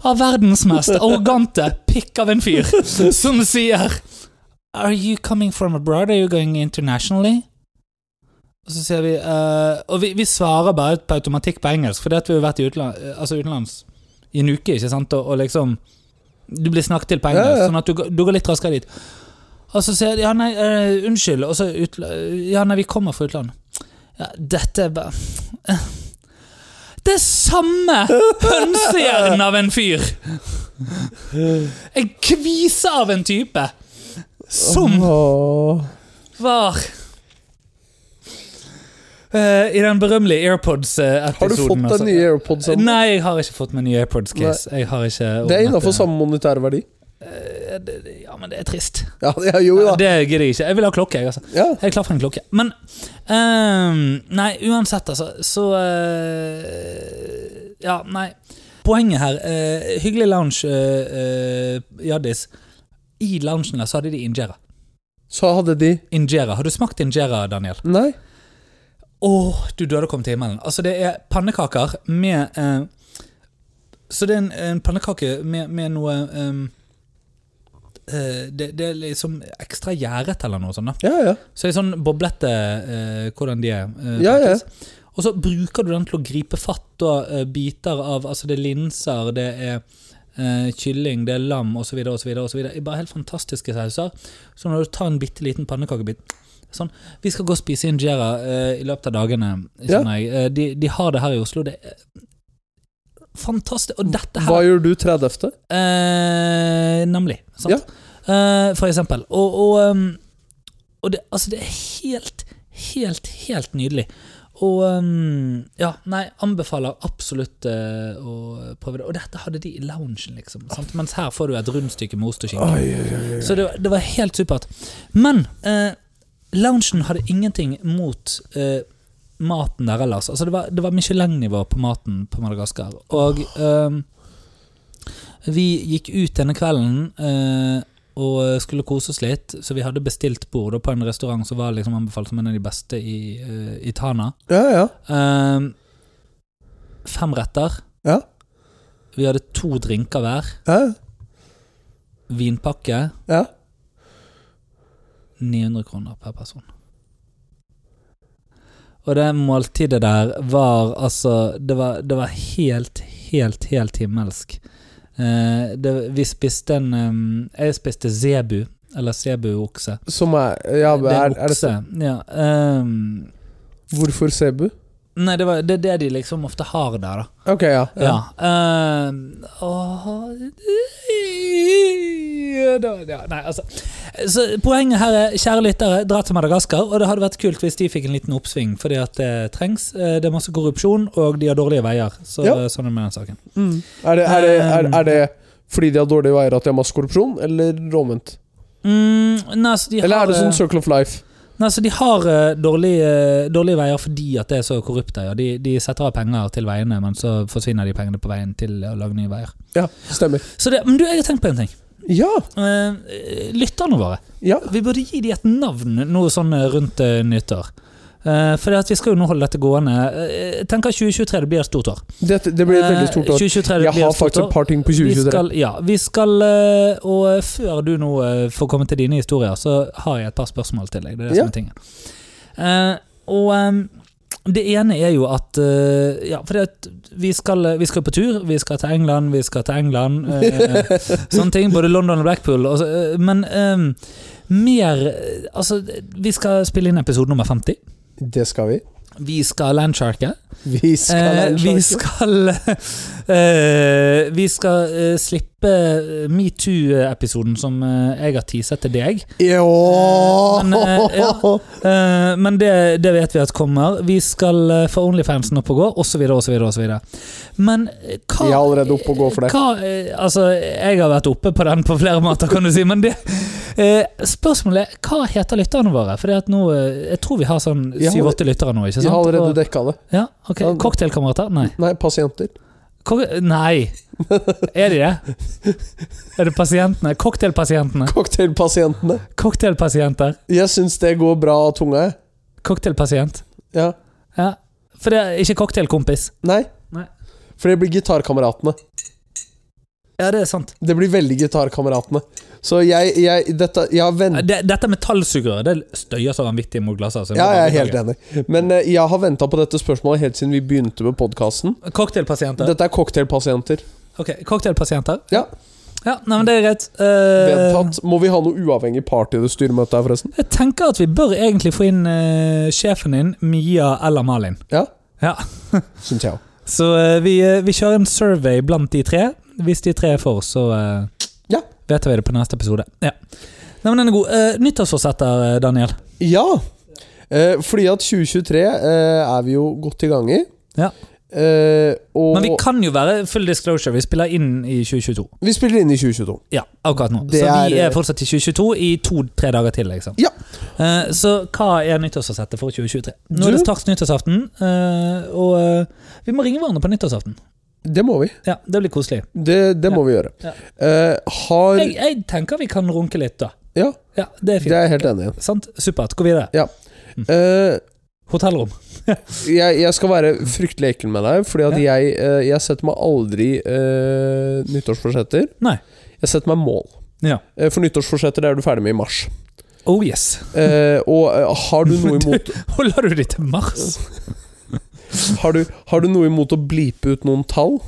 [SPEAKER 2] av verdens mest arrogante pikk av en fyr som sier Are you coming from abroad? Are you going internationally? Og så sier vi eh, Og vi, vi svarer bare på automatikk på engelsk, fordi at vi har vært i utland, eh, altså utenlands i en uke, ikke sant, og, og liksom Du blir snakket til på engelsk,
[SPEAKER 1] Ja, ja.
[SPEAKER 2] sånn at du, går- du går litt raskere dit. Og så sier de ja, nei, eh, unnskyld, og så utla... Ja, nei, vi kommer fra utlandet. Ja, dette er bare Det samme hønsehjernen av en fyr! En kvise av en type som
[SPEAKER 1] Åh.
[SPEAKER 2] var eh, I den berømmelige AirPods-episoden. altså.
[SPEAKER 1] Har du fått deg nye AirPods? Sander?
[SPEAKER 2] Nei, jeg har ikke fått meg nye AirPods. Case. Jeg har ikke
[SPEAKER 1] Det er
[SPEAKER 2] ordnet
[SPEAKER 1] innafor samme monetære verdi.
[SPEAKER 2] Eh, det- det- Ja, men det er trist.
[SPEAKER 1] Ja, ja jo da.
[SPEAKER 2] Det gidder jeg ikke. Jeg vil ha klokke, jeg, altså.
[SPEAKER 1] Ja.
[SPEAKER 2] Jeg er klar for en klokke. Men ehm, Nei, uansett, altså, så eh, Ja, nei. Poenget her eh, Hyggelig lounge, eh, eh, Yaddis. I loungen der så hadde de injera.
[SPEAKER 1] Så hadde de
[SPEAKER 2] Injera. Har du smakt injera, Daniel?
[SPEAKER 1] Nei.
[SPEAKER 2] Åh, du døde kom til himmelen. Altså, det er pannekaker med eh, Så det er en, en pannekake med, med noe eh, eh, det, det er liksom ekstra gjæret eller noe sånt. da
[SPEAKER 1] Ja, ja.
[SPEAKER 2] Så det er sånn boblete eh, hvordan de er. eh,
[SPEAKER 1] Ja, ja.
[SPEAKER 2] faktisk. Og så bruker du den til å gripe fatt og eh, biter av Altså, det er linser, det er eh, kylling, det er lam osv. osv. Bare helt fantastiske sauser. Så når du tar en bitte liten pannekakebit Sånn, Vi skal gå og spise injera eh, i løpet av dagene.
[SPEAKER 1] Ja.
[SPEAKER 2] skjønner jeg. Eh, de, de har det her i Oslo. Det er fantastisk. Og dette her
[SPEAKER 1] Hva gjør du 30.?
[SPEAKER 2] Eh, nemlig. Sant?
[SPEAKER 1] Ja.
[SPEAKER 2] Eh, for eksempel. Og, og, ehm, og det, altså, det er helt, helt, helt nydelig. Og ehm, ja, nei, anbefaler absolutt eh, å prøve det. Og dette hadde de i loungen, liksom. Sant? Mens her får du et rundstykke med ost og skinke. Så det, var- det var helt supert. Men eh, loungen hadde ingenting mot eh, maten der ellers. Altså, det var, det var Michelin-nivå på maten på Madagaskar. Og eh, vi gikk ut denne kvelden eh, og skulle kose oss litt, så vi hadde bestilt bord da, på en restaurant som var liksom anbefalt som en av de beste i, eh, i Tana.
[SPEAKER 1] Ja, ja.
[SPEAKER 2] Eh, fem retter.
[SPEAKER 1] Ja.
[SPEAKER 2] Vi hadde to drinker hver.
[SPEAKER 1] Ja.
[SPEAKER 2] Vinpakke.
[SPEAKER 1] ja.
[SPEAKER 2] 900 kroner per person. Og det måltidet der var altså Det var, det var helt, helt, helt himmelsk. Eh, det, vi spiste en em, Jeg spiste zebu, eller zebu-okse.
[SPEAKER 1] Som er Ja,
[SPEAKER 2] Det er
[SPEAKER 1] er,
[SPEAKER 2] en
[SPEAKER 1] er det
[SPEAKER 2] okse. Ja, em,
[SPEAKER 1] Hvorfor Sebu?
[SPEAKER 2] nei, det, var, det er det de liksom ofte har der, da.
[SPEAKER 1] Ok, ja.
[SPEAKER 2] Ja. ehm, åh, da- ja nei, altså. Så poenget her er, kjære lyttere, dra til Madagaskar. Og det hadde vært kult hvis de fikk en liten oppsving, fordi at det trengs. Eh, Det er masse korrupsjon, og de har dårlige veier. Så
[SPEAKER 1] Ja.
[SPEAKER 2] eh, sånn er det med den saken.
[SPEAKER 1] Mm. Er, det, er, det,
[SPEAKER 2] Um.
[SPEAKER 1] er, er det fordi de har dårlige veier at de har masse korrupsjon, eller omvendt?
[SPEAKER 2] Mm, nei, så de
[SPEAKER 1] Eller
[SPEAKER 2] har,
[SPEAKER 1] er det sånn
[SPEAKER 2] eh,
[SPEAKER 1] Circle of Life?
[SPEAKER 2] Nei, så De har eh, dårlige, dårlige veier fordi at det er så korrupt. Ja. De, de setter av penger til veiene, men så forsvinner de pengene på veien til å lage nye veier.
[SPEAKER 1] Ja, stemmer.
[SPEAKER 2] Så det, men du, jeg har tenkt på en ting.
[SPEAKER 1] Ja!
[SPEAKER 2] Eh, Lytterne våre.
[SPEAKER 1] Ja.
[SPEAKER 2] Vi burde gi dem et navn noe sånn eh, rundt eh, nyttår. Eh, for at vi skal jo nå holde dette gående. Eh, Jeg tenker 2023 det blir et stort år.
[SPEAKER 1] Dette, det blir et veldig stort år.
[SPEAKER 2] Eh, 2023 det
[SPEAKER 1] Jeg
[SPEAKER 2] blir
[SPEAKER 1] har
[SPEAKER 2] et stort
[SPEAKER 1] faktisk
[SPEAKER 2] år.
[SPEAKER 1] et par ting på
[SPEAKER 2] Vi
[SPEAKER 1] 2023.
[SPEAKER 2] skal, ja, vi skal eh, Og før du nå eh, får komme til dine historier, så har jeg et par spørsmål til deg. Det er det
[SPEAKER 1] Ja.
[SPEAKER 2] som er tingen. Eh, og em, det ene er jo at eh, Ja, for at vi skal, eh, vi skal på tur. Vi skal til England, vi skal til England. eh, sånne ting. Både London og Blackpool. Og så, eh, men em, mer eh, Altså, vi skal spille inn episode nummer 50.
[SPEAKER 1] Det skal vi.
[SPEAKER 2] Vi skal landsharke.
[SPEAKER 1] Vi skal
[SPEAKER 2] Eh,
[SPEAKER 1] lære
[SPEAKER 2] vi
[SPEAKER 1] en sjanse.
[SPEAKER 2] skal eh, Vi skal eh, slippe eh, metoo-episoden som eh, jeg har teaset til deg.
[SPEAKER 1] Ja.
[SPEAKER 2] Men, eh, ja. Eh, men det, det vet vi at kommer. Vi skal eh, få Onlyfansen opp og gå, osv., osv., osv. Men eh, hva
[SPEAKER 1] Jeg er allerede oppe og går for det.
[SPEAKER 2] Hva, eh, altså, jeg har vært oppe på den på flere måter, kan du si, men det eh, Spørsmålet er hva heter lytterne våre? Fordi at nå, eh, Jeg tror vi har sånn
[SPEAKER 1] Jeg har-
[SPEAKER 2] syv-åtte lyttere nå, ikke sant?
[SPEAKER 1] Jeg har allerede
[SPEAKER 2] Og-
[SPEAKER 1] dekka det.
[SPEAKER 2] ja, ok.
[SPEAKER 1] Ja.
[SPEAKER 2] Cocktailkamerater? Nei.
[SPEAKER 1] Nei, pasienter.
[SPEAKER 2] Kok- Nei. Er de det? Er det pasientene? Cocktailpasientene?
[SPEAKER 1] Cocktailpasientene.
[SPEAKER 2] Cocktailpasienter?
[SPEAKER 1] Jeg syns det går bra av tunga, jeg.
[SPEAKER 2] Cocktailpasient?
[SPEAKER 1] Ja.
[SPEAKER 2] Ja. For det er ikke cocktailkompis.
[SPEAKER 1] Nei.
[SPEAKER 2] Nei.
[SPEAKER 1] For det blir gitarkameratene.
[SPEAKER 2] Ja, det er sant.
[SPEAKER 1] Det blir veldig gitarkameratene. Så jeg, jeg, dette, jeg har venta
[SPEAKER 2] Mm. Det, dette metallsugere, det støyer så vanvittig mot glasset.
[SPEAKER 1] Ja, jeg er helt enig. Men eh, jeg har venta på dette spørsmålet helt siden vi begynte med podkasten.
[SPEAKER 2] Cocktailpasienter?
[SPEAKER 1] Dette er cocktailpasienter.
[SPEAKER 2] Ok, cocktailpasienter.
[SPEAKER 1] Ja.
[SPEAKER 2] Ja, nei, men det er greit. Eh,
[SPEAKER 1] Vedtatt. Må vi ha noe uavhengig party i det styremøtet her, forresten?
[SPEAKER 2] jeg tenker at vi bør egentlig få inn eh, sjefen din, Mia eller Malin.
[SPEAKER 1] Ja.
[SPEAKER 2] Ja.
[SPEAKER 1] Syns jeg òg.
[SPEAKER 2] Så eh, vi, eh, vi kjører en survey blant de tre. Hvis de tre er for, så eh,
[SPEAKER 1] Ja.
[SPEAKER 2] vet vi det på neste episode. Ja. Nei, men den er god. Eh, nyttårsforsetter, eh, Daniel.
[SPEAKER 1] Ja. Eh, fordi at 2023 eh, er vi jo godt i gang i.
[SPEAKER 2] Ja.
[SPEAKER 1] Eh, og
[SPEAKER 2] Men vi kan jo være full disclosure. Vi spiller inn i 2022.
[SPEAKER 1] vi spiller inn i 2022.
[SPEAKER 2] Ja, akkurat nå.
[SPEAKER 1] Det
[SPEAKER 2] så vi
[SPEAKER 1] er-
[SPEAKER 2] er fortsatt i 2022 i to-tre dager til. liksom.
[SPEAKER 1] Ja.
[SPEAKER 2] Eh, så hva er nyttårsforsettet for 2023? Nå
[SPEAKER 1] Du-
[SPEAKER 2] er det straks nyttårsaften, eh, og eh, vi må ringe hverandre på nyttårsaften.
[SPEAKER 1] Det må vi.
[SPEAKER 2] Ja, det blir koselig.
[SPEAKER 1] Det, det må vi gjøre.
[SPEAKER 2] Ja.
[SPEAKER 1] Eh, har
[SPEAKER 2] Jeg, jeg tenker vi kan runke litt, da.
[SPEAKER 1] Ja,
[SPEAKER 2] Ja, Det er
[SPEAKER 1] det
[SPEAKER 2] fint.
[SPEAKER 1] er jeg helt enig i.
[SPEAKER 2] Sant? Supert. Gå videre.
[SPEAKER 1] Eh,
[SPEAKER 2] Hotellrom.
[SPEAKER 1] jeg, jeg skal være fryktelig ekkel med deg, fordi at
[SPEAKER 2] Ja.
[SPEAKER 1] jeg, eh, jeg setter meg aldri eh, nyttårsforsetter.
[SPEAKER 2] Nei.
[SPEAKER 1] Jeg setter meg mål.
[SPEAKER 2] Ja.
[SPEAKER 1] Eh, for nyttårsforsetter er du ferdig med i mars.
[SPEAKER 2] Oh yes.
[SPEAKER 1] Eh, og eh, har, du noe imot,
[SPEAKER 2] Holder du deg til Mars?
[SPEAKER 1] har, du, har du noe imot å blipe ut noen tall?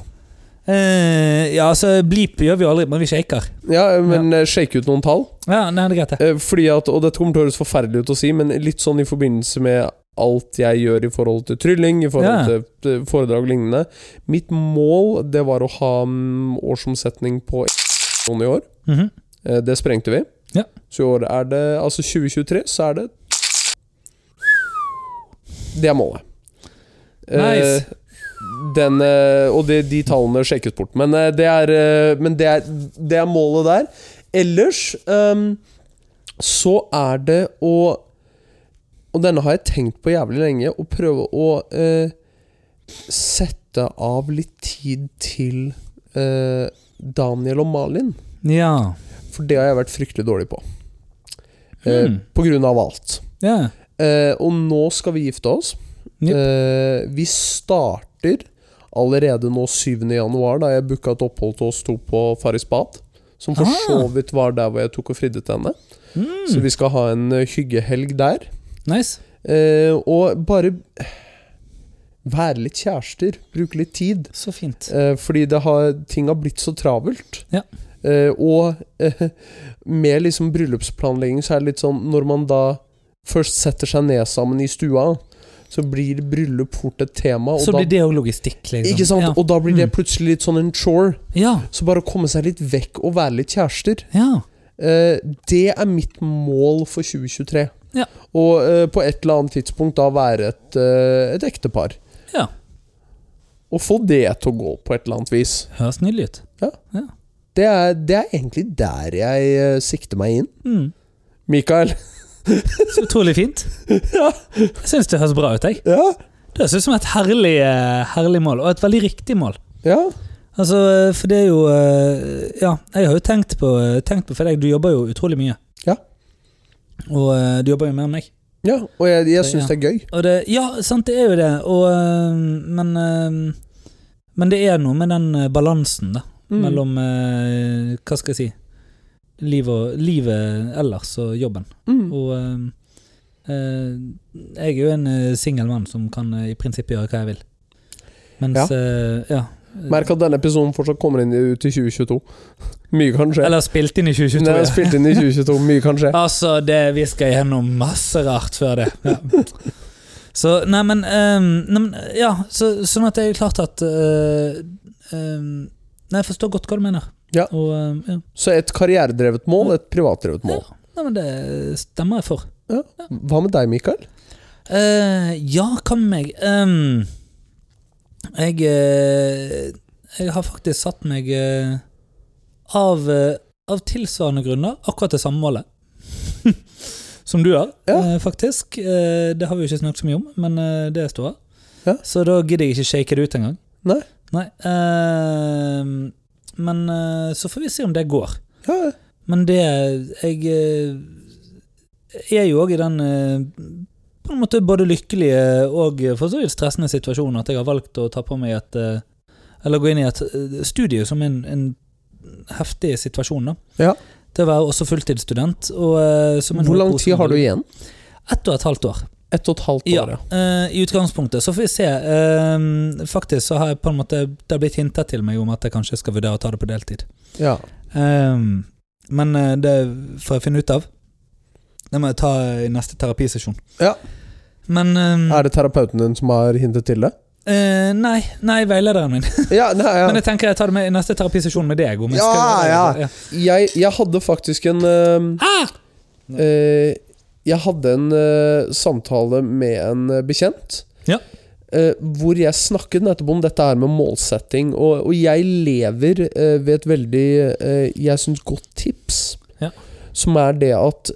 [SPEAKER 2] Eh, ja, altså, bleep gjør vi jo aldri, men vi shaker.
[SPEAKER 1] Ja, eh, men eh, shake ut noen tall.
[SPEAKER 2] Ja, nei, det er greit, det.
[SPEAKER 1] Eh, fordi at, og dette kommer til å høres forferdelig ut å si, men litt sånn i forbindelse med alt jeg gjør i forhold til trylling, i forhold
[SPEAKER 2] Ja.
[SPEAKER 1] til eh, foredrag og lignende. Mitt mål, det var å ha mm, årsomsetning på i år.
[SPEAKER 2] Mhm.
[SPEAKER 1] Eh, Det sprengte vi.
[SPEAKER 2] Ja.
[SPEAKER 1] Så i år er det Altså 2023, så er det Det er målet.
[SPEAKER 2] Nice.
[SPEAKER 1] Eh, Den, eh, og det, de tallene sjekkes bort. Men, eh, det, er, eh, men det, er, det er målet der. Ellers ehm, så er det å Og denne har jeg tenkt på jævlig lenge. Å prøve å eh, sette av litt tid til eh, Daniel og Malin.
[SPEAKER 2] Ja.
[SPEAKER 1] For det har jeg vært fryktelig dårlig på. Eh,
[SPEAKER 2] Mm.
[SPEAKER 1] På grunn av alt.
[SPEAKER 2] ja.
[SPEAKER 1] Eh, og nå skal vi gifte oss.
[SPEAKER 2] Jep.
[SPEAKER 1] Eh, vi starter allerede nå 7. januar, da jeg booka et opphold til oss to på Farris bad. Som for
[SPEAKER 2] Ah. Hmm.
[SPEAKER 1] så vidt var der hvor jeg tok og fridde til henne. Så vi skal ha en eh, hyggehelg der.
[SPEAKER 2] Nice.
[SPEAKER 1] Eh, og bare være litt kjærester. Bruke litt tid.
[SPEAKER 2] Så fint.
[SPEAKER 1] Eh, fordi det har, ting har blitt så travelt.
[SPEAKER 2] Ja.
[SPEAKER 1] Eh, og eh, med liksom bryllupsplanlegging så er det litt sånn Når man da først setter seg ned sammen i stua, så blir bryllup fort et tema. Og
[SPEAKER 2] Så blir
[SPEAKER 1] da,
[SPEAKER 2] det òg logistikk, liksom.
[SPEAKER 1] ikke sant?
[SPEAKER 2] Ja.
[SPEAKER 1] Og da blir det
[SPEAKER 2] Mm.
[SPEAKER 1] plutselig litt sånn en chore.
[SPEAKER 2] ja.
[SPEAKER 1] Så bare å komme seg litt vekk og være litt kjærester,
[SPEAKER 2] ja.
[SPEAKER 1] eh, det er mitt mål for 2023.
[SPEAKER 2] Ja.
[SPEAKER 1] Og eh, på et eller annet tidspunkt da være et, eh, et ektepar.
[SPEAKER 2] Ja.
[SPEAKER 1] Og få det til å gå på et eller annet vis.
[SPEAKER 2] Høres nydelig ut.
[SPEAKER 1] Det er, det er egentlig der jeg eh, sikter meg inn.
[SPEAKER 2] Mm.
[SPEAKER 1] Mikael.
[SPEAKER 2] Så utrolig fint.
[SPEAKER 1] Ja.
[SPEAKER 2] Jeg syns det høres bra ut, jeg.
[SPEAKER 1] Ja.
[SPEAKER 2] Det høres ut som et herlig, eh, herlig mål, og et veldig riktig mål.
[SPEAKER 1] ja.
[SPEAKER 2] Altså, eh, for det er jo eh, Ja, jeg har jo tenkt på, eh, tenkt på For deg, du jobber jo utrolig mye.
[SPEAKER 1] Ja.
[SPEAKER 2] Og eh, du jobber jo mer enn meg.
[SPEAKER 1] ja. Og jeg, jeg
[SPEAKER 2] Så,
[SPEAKER 1] syns
[SPEAKER 2] ja.
[SPEAKER 1] det er gøy.
[SPEAKER 2] Og det, ja, sant, det er jo det. Og, eh, men eh, Men det er noe med den eh, balansen, da.
[SPEAKER 1] Mm.
[SPEAKER 2] Mellom eh, Hva skal jeg si Liv og, Livet ellers og jobben.
[SPEAKER 1] Mm.
[SPEAKER 2] Og eh, eh, jeg er jo en eh, singel mann som kan eh, i prinsippet gjøre hva jeg vil. Mens
[SPEAKER 1] Ja.
[SPEAKER 2] ja. ja.
[SPEAKER 1] Merk at denne episoden fortsatt kommer inn i- ut i 2022. Mye kan skje.
[SPEAKER 2] Eller spilt inn i
[SPEAKER 1] Den
[SPEAKER 2] 2022.
[SPEAKER 1] er
[SPEAKER 2] Ja.
[SPEAKER 1] spilt inn i 2022. Mye kan skje.
[SPEAKER 2] Altså, det, vi skal gjennom masse rart før det. Ja. Så, nei, men, ehm, nei, men Ja, så, sånn at det er klart at eh, ehm, Nei, jeg forstår godt hva du mener.
[SPEAKER 1] Ja.
[SPEAKER 2] Og, ehm, ja.
[SPEAKER 1] Så et karrieredrevet mål, et privatdrevet mål.
[SPEAKER 2] Nei, men det stemmer jeg for.
[SPEAKER 1] Hva med deg, Mikael?
[SPEAKER 2] Eh, ja, hva med meg? Ehm, jeg eh, Jeg har faktisk satt meg eh, av, eh, av tilsvarende grunner akkurat det samme målet. Som du har,
[SPEAKER 1] Ja.
[SPEAKER 2] eh, faktisk. Eh, det har vi jo ikke snakket så mye om, men eh, det står her.
[SPEAKER 1] Ja.
[SPEAKER 2] Så da gidder jeg ikke shake det ut engang.
[SPEAKER 1] Nei.
[SPEAKER 2] Nei. ehm, men eh, så får vi se om det går.
[SPEAKER 1] Ja.
[SPEAKER 2] Men det Jeg eh, er jo òg i den eh, på en måte både lykkelige og for så vidt stressende situasjonen at jeg har valgt å ta på meg et eh, Eller gå inn i et eh, studie som en, en heftig situasjon, da.
[SPEAKER 1] Ja.
[SPEAKER 2] Til å være også fulltidsstudent. Og, eh, som en
[SPEAKER 1] Hvor lang
[SPEAKER 2] hovedpose-
[SPEAKER 1] tid har du igjen?
[SPEAKER 2] Ett og et halvt år.
[SPEAKER 1] Ett og et halvt
[SPEAKER 2] Ja,
[SPEAKER 1] år, ja.
[SPEAKER 2] eh, I utgangspunktet. Så får vi se. Eh, faktisk så har jeg på en måte Det har blitt hintet til meg om at jeg kanskje skal vurdere å ta det på deltid.
[SPEAKER 1] ja.
[SPEAKER 2] Ehm, men eh, det får jeg finne ut av. Det må jeg ta i neste terapisesjon.
[SPEAKER 1] Ja.
[SPEAKER 2] Men ehm,
[SPEAKER 1] Er det terapeuten din som har hintet til det?
[SPEAKER 2] eh, Nei, nei, veilederen min.
[SPEAKER 1] Ja, nei, ja.
[SPEAKER 2] Men jeg tenker jeg tar det med i neste terapisesjon med deg. om jeg
[SPEAKER 1] Ja,
[SPEAKER 2] skal gjøre det.
[SPEAKER 1] Jeg, jeg hadde faktisk en eh, eh, Jeg hadde en eh, samtale med en eh, bekjent.
[SPEAKER 2] Ja.
[SPEAKER 1] eh, hvor jeg snakket nettopp om dette her med målsetting. Og, og jeg lever eh, ved et veldig, eh, jeg syns, godt tips.
[SPEAKER 2] Ja.
[SPEAKER 1] Som er det at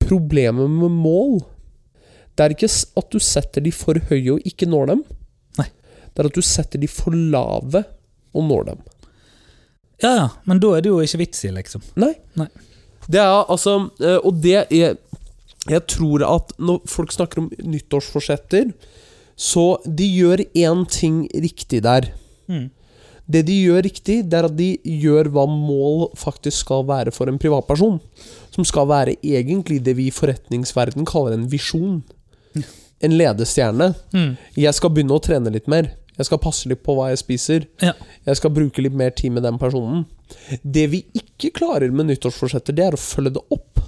[SPEAKER 1] problemet med mål Det er ikke s- at du setter de for høye og ikke når dem.
[SPEAKER 2] Nei.
[SPEAKER 1] Det er at du setter de for lave og når dem.
[SPEAKER 2] Ja, ja, men da er det jo ikke vits i, liksom.
[SPEAKER 1] Nei.
[SPEAKER 2] Nei.
[SPEAKER 1] Det er altså eh, Og det er Jeg tror at når folk snakker om nyttårsforsetter, så de gjør én ting riktig der.
[SPEAKER 2] Mm.
[SPEAKER 1] Det de gjør riktig, det er at de gjør hva mål faktisk skal være for en privatperson. Som skal være egentlig det vi i forretningsverden kaller en visjon. En ledestjerne.
[SPEAKER 2] Mm.
[SPEAKER 1] Jeg skal begynne å trene litt mer. Jeg skal passe litt på hva jeg spiser.
[SPEAKER 2] Ja.
[SPEAKER 1] Jeg skal bruke litt mer tid med den personen. Det vi ikke klarer med nyttårsforsetter, det er å følge det opp.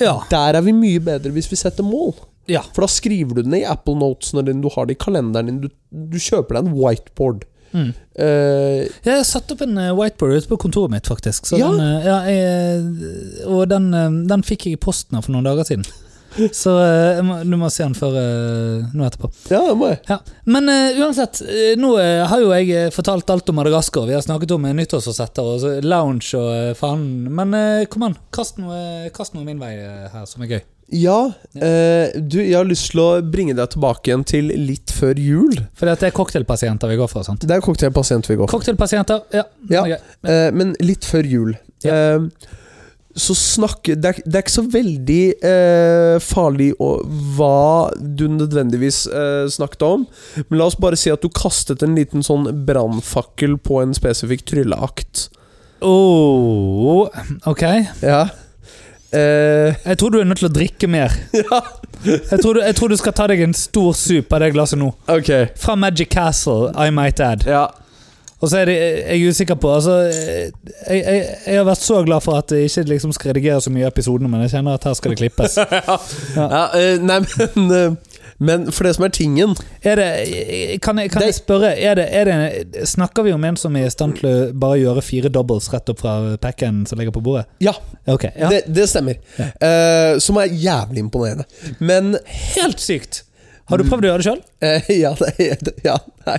[SPEAKER 2] Ja.
[SPEAKER 1] Der er vi mye bedre hvis vi setter mål.
[SPEAKER 2] ja.
[SPEAKER 1] For da skriver du det ned i Apple Notesene dine, du har det i kalenderen din, du, du kjøper deg en whiteboard.
[SPEAKER 2] Mm.
[SPEAKER 1] Eh,
[SPEAKER 2] Jeg har satt opp en eh, whiteboard ute på kontoret mitt, faktisk. Så
[SPEAKER 1] Ja.
[SPEAKER 2] Den, eh, ja, jeg, og den, eh, den fikk jeg i posten her for noen dager siden. Så eh, jeg må, du må se den før eh, nå etterpå.
[SPEAKER 1] ja, det må jeg.
[SPEAKER 2] Ja. Men eh, uansett, eh, nå eh, har jo jeg eh, fortalt alt om Madagaskar. Vi har snakket om eh, nyttårsforsetter og så lounge og eh, faen. Men eh, kom an, kast noe, kast noe min vei eh, her som er gøy.
[SPEAKER 1] Ja, eh, du, jeg har lyst til å bringe deg tilbake igjen til litt før jul.
[SPEAKER 2] For det er cocktailpasienter vi går for. sant?
[SPEAKER 1] Det er cocktailpasient vi går for.
[SPEAKER 2] Cocktailpasienter, ja.
[SPEAKER 1] Ja.
[SPEAKER 2] Ok.
[SPEAKER 1] Eh, men litt før jul.
[SPEAKER 2] Ja.
[SPEAKER 1] Eh, så snakke det er, det er ikke så veldig eh, farlig å, hva du nødvendigvis eh, snakket om, men la oss bare si at du kastet en liten sånn brannfakkel på en spesifikk trylleakt.
[SPEAKER 2] Oh, ok.
[SPEAKER 1] Ja. Eh,
[SPEAKER 2] Jeg tror du er nødt til å drikke mer.
[SPEAKER 1] ja.
[SPEAKER 2] Jeg tror, du, jeg tror du skal ta deg en stor sup av det glasset nå.
[SPEAKER 1] Ok.
[SPEAKER 2] Fra Magic Castle, I might add.
[SPEAKER 1] Ja.
[SPEAKER 2] Og så er det, jeg er usikker på altså, jeg, jeg, jeg har vært så glad for at jeg ikke liksom skal redigere så mye i episodene, men jeg kjenner at her skal det klippes.
[SPEAKER 1] ja eh, nei, men eh, Men for det som er tingen
[SPEAKER 2] Er det, kan jeg, kan jeg spørre er det, er det, Snakker vi om en som er i stand til å bare gjøre fire doubles rett opp fra packen som ligger på bordet?
[SPEAKER 1] Ja,
[SPEAKER 2] Ok, ja.
[SPEAKER 1] Det, det stemmer. Eh, som er jævlig imponerende. Men
[SPEAKER 2] Helt sykt! Har du prøvd å gjøre det sjøl?
[SPEAKER 1] eh, Ja, det, det, ja, nei.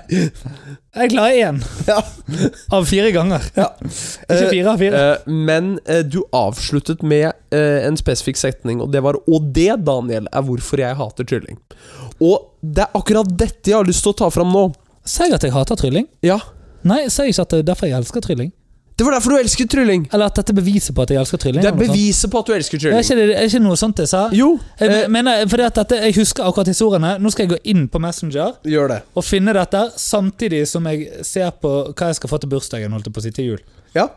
[SPEAKER 2] Jeg klarer én
[SPEAKER 1] Ja.
[SPEAKER 2] av fire ganger.
[SPEAKER 1] Ja.
[SPEAKER 2] Ikke fire av fire.
[SPEAKER 1] Eh, men eh, du avsluttet med eh, en spesifikk setning, og det var Og det, Daniel, er hvorfor jeg hater kylling. Og det er akkurat dette jeg har lyst til å ta fram nå.
[SPEAKER 2] Sier jeg at jeg hater trylling?
[SPEAKER 1] Ja.
[SPEAKER 2] Nei, sier jeg ikke at det er derfor jeg elsker trylling?
[SPEAKER 1] Det var derfor du elsker trylling!
[SPEAKER 2] Eller at dette er beviset på at jeg elsker trylling?
[SPEAKER 1] Det er
[SPEAKER 2] eller noe sånt.
[SPEAKER 1] beviset på at du elsker
[SPEAKER 2] Er
[SPEAKER 1] kylling.
[SPEAKER 2] ikke, det, er ikke noe sånt jeg sa?
[SPEAKER 1] Jo,
[SPEAKER 2] Jeg,
[SPEAKER 1] eh,
[SPEAKER 2] mener, fordi at dette, jeg husker akkurat historiene. Nå skal jeg gå inn på Messenger
[SPEAKER 1] eh, gjør det.
[SPEAKER 2] og finne dette, samtidig som jeg ser på hva jeg skal få til bursdagen. holdt jeg på å si til jul.
[SPEAKER 1] Ja.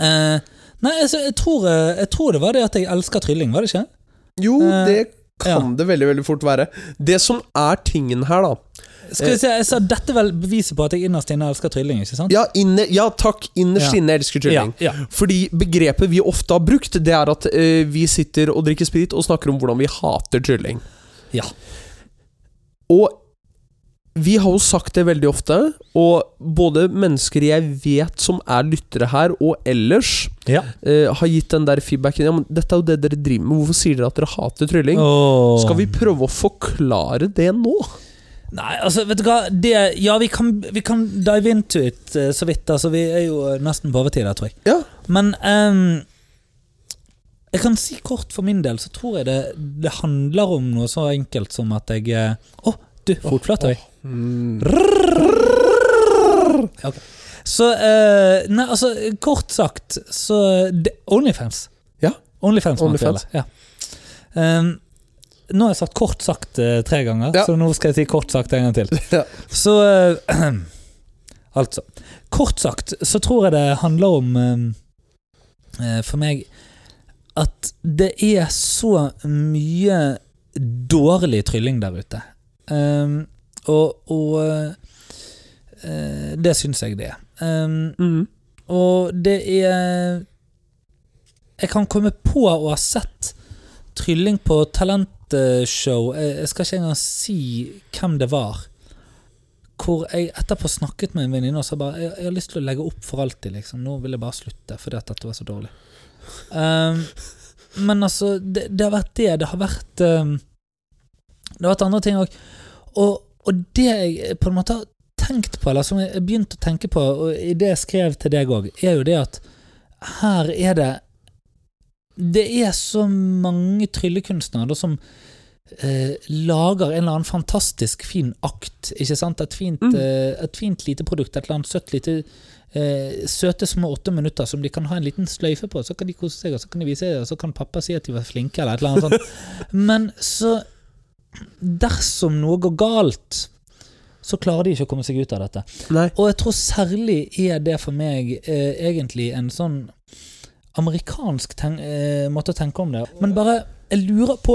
[SPEAKER 2] Eh, nei, altså, jeg, tror, eh, jeg tror det var det at jeg elsker trylling, var det ikke?
[SPEAKER 1] Jo,
[SPEAKER 2] Eh,
[SPEAKER 1] det kan
[SPEAKER 2] ja.
[SPEAKER 1] det veldig, veldig fort være. Det som er tingen her, da
[SPEAKER 2] Skal vi se, jeg sa Dette er vel beviset på at jeg innerst inne elsker trylling, ikke sant?
[SPEAKER 1] Ja, inne, ja takk, innerst
[SPEAKER 2] Ja.
[SPEAKER 1] inne elsker kylling.
[SPEAKER 2] Ja,
[SPEAKER 1] Fordi begrepet vi ofte har brukt, det er at eh, vi sitter og drikker sprit og snakker om hvordan vi hater kylling.
[SPEAKER 2] Ja.
[SPEAKER 1] Og vi har jo sagt det veldig ofte, og både mennesker jeg vet som er lyttere her, og ellers,
[SPEAKER 2] ja.
[SPEAKER 1] eh, har gitt den der feedbacken Ja, men dette er jo det dere driver med, hvorfor sier dere at dere hater trylling?
[SPEAKER 2] Åh.
[SPEAKER 1] Skal vi prøve å forklare det nå?
[SPEAKER 2] Nei, altså, vet du hva det, Ja, vi kan, vi kan dive into it eh, så vidt. Altså, vi er jo eh, nesten på overtid der, tror jeg.
[SPEAKER 1] Ja.
[SPEAKER 2] Men ehm, jeg kan si kort for min del, så tror jeg det, det handler om noe så enkelt som at jeg eh, Å, du, fotflata mi. Mm. Ok. Så eh, Nei, altså, kort sagt, så det, Onlyfans.
[SPEAKER 1] Ja.
[SPEAKER 2] Onlyfans.
[SPEAKER 1] Onlyfans.
[SPEAKER 2] Ja. Ehm, nå har jeg sagt 'kort sagt' eh, tre ganger,
[SPEAKER 1] Ja.
[SPEAKER 2] så nå skal jeg si 'kort sagt' en gang til.
[SPEAKER 1] Ja.
[SPEAKER 2] Så eh, Altså. Kort sagt så tror jeg det handler om eh, eh, For meg at det er så mye dårlig trylling der ute. Ehm, og og eh, eh, det syns jeg det er. Ehm,
[SPEAKER 1] Mm.
[SPEAKER 2] og det er Jeg kan komme på å ha sett trylling på talentshow. Jeg jeg skal ikke engang si hvem det var. Hvor jeg etterpå snakket med en venninne og sa bare jeg, 'Jeg har lyst til å legge opp for alltid', liksom. Nå vil jeg bare slutte fordi at dette var så dårlig. Ehm, men altså, det, det har vært det. Det har vært ehm, Det har vært andre ting òg. Og, og det jeg på en måte har tenkt på, eller som jeg begynte å tenke på og i det jeg skrev til deg òg, er jo det at her er det Det er så mange tryllekunstnere da, som eh, lager en eller annen fantastisk fin akt. Ikke sant? Et fint, eh, et fint lite produkt, et eller annet søtt lite eh, Søte små åtte minutter som de kan ha en liten sløyfe på. Så kan de kose seg, og så kan de vise det, og så kan pappa si at de var flinke, eller et eller annet sånt. Men så Dersom noe går galt, så klarer de ikke å komme seg ut av dette.
[SPEAKER 1] Nei.
[SPEAKER 2] Og jeg tror særlig er det for meg eh, egentlig en sånn amerikansk ten eh, måte å tenke om det. Men bare jeg lurer på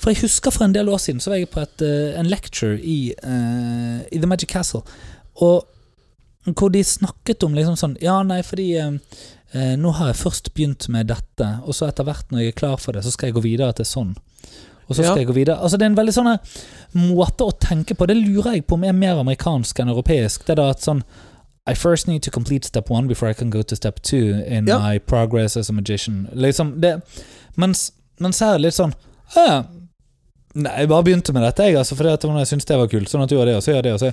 [SPEAKER 2] For jeg husker for en del år siden så var jeg på et, eh, en lecture i, eh, i The Magic Castle. Og hvor de snakket om liksom sånn Ja, nei, fordi eh, eh, nå har jeg først begynt med dette, og så etter hvert når jeg er klar for det, så skal jeg gå videre til sånn. Og så skal
[SPEAKER 1] Ja.
[SPEAKER 2] jeg gå videre. Altså Det er en veldig sånn her måte å tenke på. Det lurer jeg på om er mer amerikansk enn europeisk. Det er da at sånn I first need to complete step one before I can go to step two in
[SPEAKER 1] Ja.
[SPEAKER 2] my progress as a magician. Liksom det Mens, mens her er det litt sånn «Å, Nei, jeg bare begynte med dette, jeg, altså, fordi at jeg syntes det var kult. Sånn at du gjør det, og så gjør jeg det, og så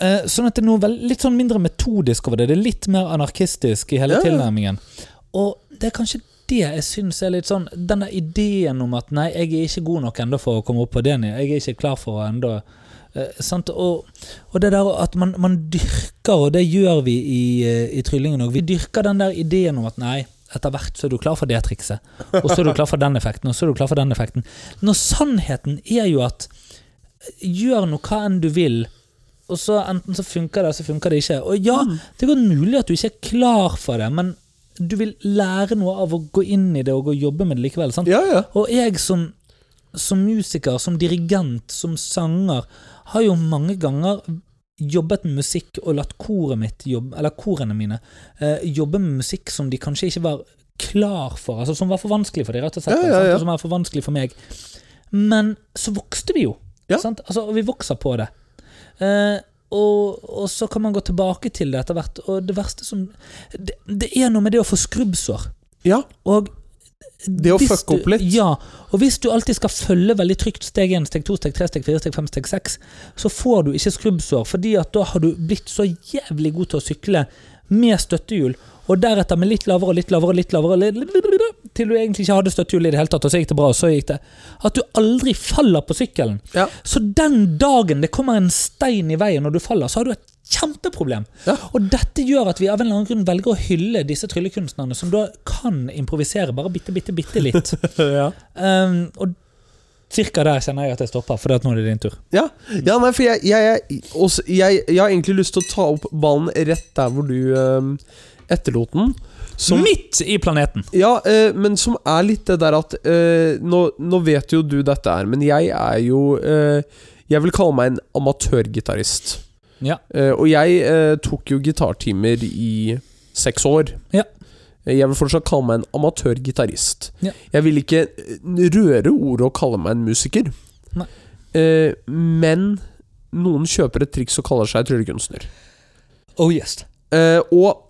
[SPEAKER 2] Eh, Sånn at det er noe vel- litt sånn mindre metodisk over det. Det er litt mer anarkistisk i hele
[SPEAKER 1] Ja, ja.
[SPEAKER 2] tilnærmingen. Og det er kanskje det jeg syns er litt sånn Den der ideen om at nei, jeg er ikke god nok ennå for å komme opp på det nivået. Jeg er ikke klar for å enda eh, sant? Og, og det der at man, man dyrker, og det gjør vi i, eh, i Tryllingen òg, vi dyrker den der ideen om at nei, etter hvert så er du klar for det trikset, og så er du klar for den effekten, og så er du klar for den effekten. Når sannheten er jo at gjør nå hva enn du vil, og så enten så funker det, så funker det ikke. Og ja, det er godt mulig at du ikke er klar for det, men du vil lære noe av å gå inn i det og gå og jobbe med det likevel. sant?
[SPEAKER 1] Ja, ja.
[SPEAKER 2] Og jeg som, som musiker, som dirigent, som sanger, har jo mange ganger jobbet med musikk og latt koret mitt jobbe, eller korene mine eh, jobbe med musikk som de kanskje ikke var klar for, altså som var for vanskelig for dem, rett og slett.
[SPEAKER 1] Ja, ja,
[SPEAKER 2] sant?
[SPEAKER 1] ja.
[SPEAKER 2] Og som var for vanskelig for meg. Men så vokste vi jo.
[SPEAKER 1] Ja.
[SPEAKER 2] Sant? Altså, og vi vokser på det. Eh, og, og så kan man gå tilbake til det etter hvert. Og det verste som Det, det er noe med det å få skrubbsår.
[SPEAKER 1] Ja.
[SPEAKER 2] Og
[SPEAKER 1] Det å
[SPEAKER 2] hvis
[SPEAKER 1] fucke opp
[SPEAKER 2] du-
[SPEAKER 1] litt.
[SPEAKER 2] Ja, og hvis du alltid skal følge veldig trygt steg 1, steg 2, steg 3, steg 4, steg 5, steg 6, så får du ikke skrubbsår, fordi at da har du blitt så jævlig god til å sykle med støttehjul, og deretter med litt lavere og litt lavere og litt lavere, litt- litt- litt- litt- litt, til du egentlig ikke hadde støttehjul i det hele tatt, og så gikk det bra, og så gikk det At du aldri faller på sykkelen.
[SPEAKER 1] Ja.
[SPEAKER 2] Så den dagen det kommer en stein i veien når du faller, så har du et kjempeproblem.
[SPEAKER 1] Ja.
[SPEAKER 2] Og dette gjør at vi av en eller annen grunn velger å hylle disse tryllekunstnerne, som da kan improvisere bare bitte, bitte, bitte litt.
[SPEAKER 1] ja.
[SPEAKER 2] Um, og cirka der kjenner jeg at jeg stopper, for det at nå er det din tur.
[SPEAKER 1] Ja, ja nei, for jeg, jeg, jeg, også, jeg, jeg har egentlig lyst til å ta opp ballen rett der hvor du øhm, etterlot den. Som,
[SPEAKER 2] Midt i planeten!
[SPEAKER 1] ja, øh, men som er litt det der at øh, nå, nå vet jo du dette her, men jeg er jo øh, Jeg vil kalle meg en amatørgitarist.
[SPEAKER 2] Ja.
[SPEAKER 1] Eh, og jeg eh, tok jo gitartimer i seks år.
[SPEAKER 2] Ja.
[SPEAKER 1] Eh, Jeg vil fortsatt kalle meg en amatørgitarist.
[SPEAKER 2] Ja.
[SPEAKER 1] Jeg vil ikke eh, røre ordet å kalle meg en musiker.
[SPEAKER 2] Nei.
[SPEAKER 1] Eh, men noen kjøper et triks og kaller seg tryllekunstner.
[SPEAKER 2] Oh yes.
[SPEAKER 1] Eh, og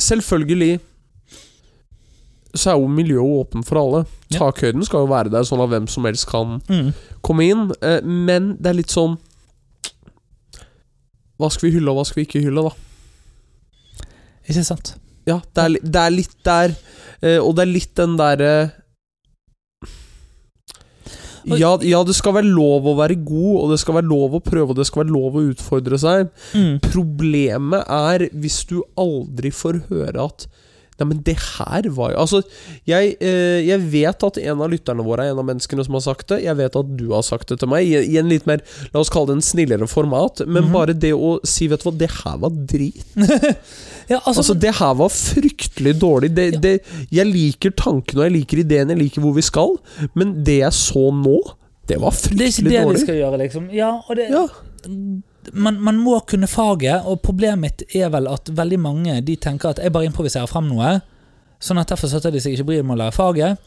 [SPEAKER 1] selvfølgelig så er jo miljøet åpent for alle.
[SPEAKER 2] Ja.
[SPEAKER 1] Takhøyden skal jo være der, sånn at hvem som helst kan
[SPEAKER 2] Mm.
[SPEAKER 1] komme inn. eh, Men det er litt sånn Hva skal vi hylle, og hva skal vi ikke hylle, da?
[SPEAKER 2] Ikke sant?
[SPEAKER 1] Ja, det er, li- det er litt der, eh, og det er litt den derre ja, ja, det skal være lov å være god, og det skal være lov å prøve, og det skal være lov å utfordre seg.
[SPEAKER 2] Mm.
[SPEAKER 1] Problemet er hvis du aldri får høre at Nei, men det her var jo Altså, jeg, eh, jeg vet at en av lytterne våre er en av menneskene som har sagt det. Jeg vet at du har sagt det til meg, i, i en litt mer La oss kalle det en snillere format. Men
[SPEAKER 2] Mhm.
[SPEAKER 1] bare det å si 'vet du hva, det her var drit'.
[SPEAKER 2] Ja, altså,
[SPEAKER 1] Altså, det her var fryktelig dårlig. Det,
[SPEAKER 2] Ja.
[SPEAKER 1] det, jeg liker tankene, og jeg liker ideen, jeg liker hvor vi skal, men det jeg så nå, det var
[SPEAKER 2] det er ikke
[SPEAKER 1] fryktelig
[SPEAKER 2] det vi
[SPEAKER 1] dårlig.
[SPEAKER 2] skal gjøre, liksom. Ja, og det,
[SPEAKER 1] Ja.
[SPEAKER 2] man, man må kunne faget, og problemet mitt er vel at veldig mange de tenker at jeg bare improviserer frem noe, sånn at derfor setter de seg ikke bryr med å lære faget.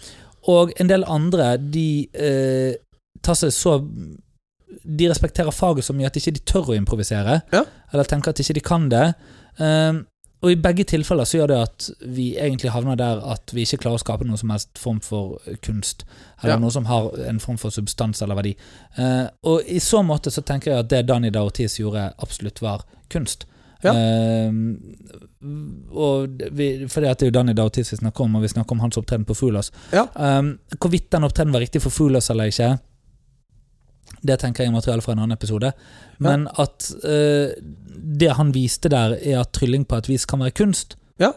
[SPEAKER 2] Og en del andre, de eh, tar seg så De respekterer faget så mye at ikke de tør å improvisere,
[SPEAKER 1] Ja.
[SPEAKER 2] eller tenker at ikke de kan det. Um, og i begge tilfeller så gjør det at vi egentlig havner der at vi ikke klarer å skape noen som helst form for kunst, eller
[SPEAKER 1] Ja.
[SPEAKER 2] noe som har en form for substans eller verdi. Eh, og i så måte så tenker jeg at det Danny Daotis gjorde, absolutt var kunst.
[SPEAKER 1] Ja.
[SPEAKER 2] Eh, og det- vi, fordi at det er jo Danny Dautis vi snakker om, og vi snakker om hans opptreden på Fulas.
[SPEAKER 1] Ja.
[SPEAKER 2] hvorvidt den opptredenen var riktig for Fulas eller ikke, det tenker jeg er materiale fra en annen episode. Men at eh, det han viste der, er at trylling på et vis kan være kunst.
[SPEAKER 1] Ja.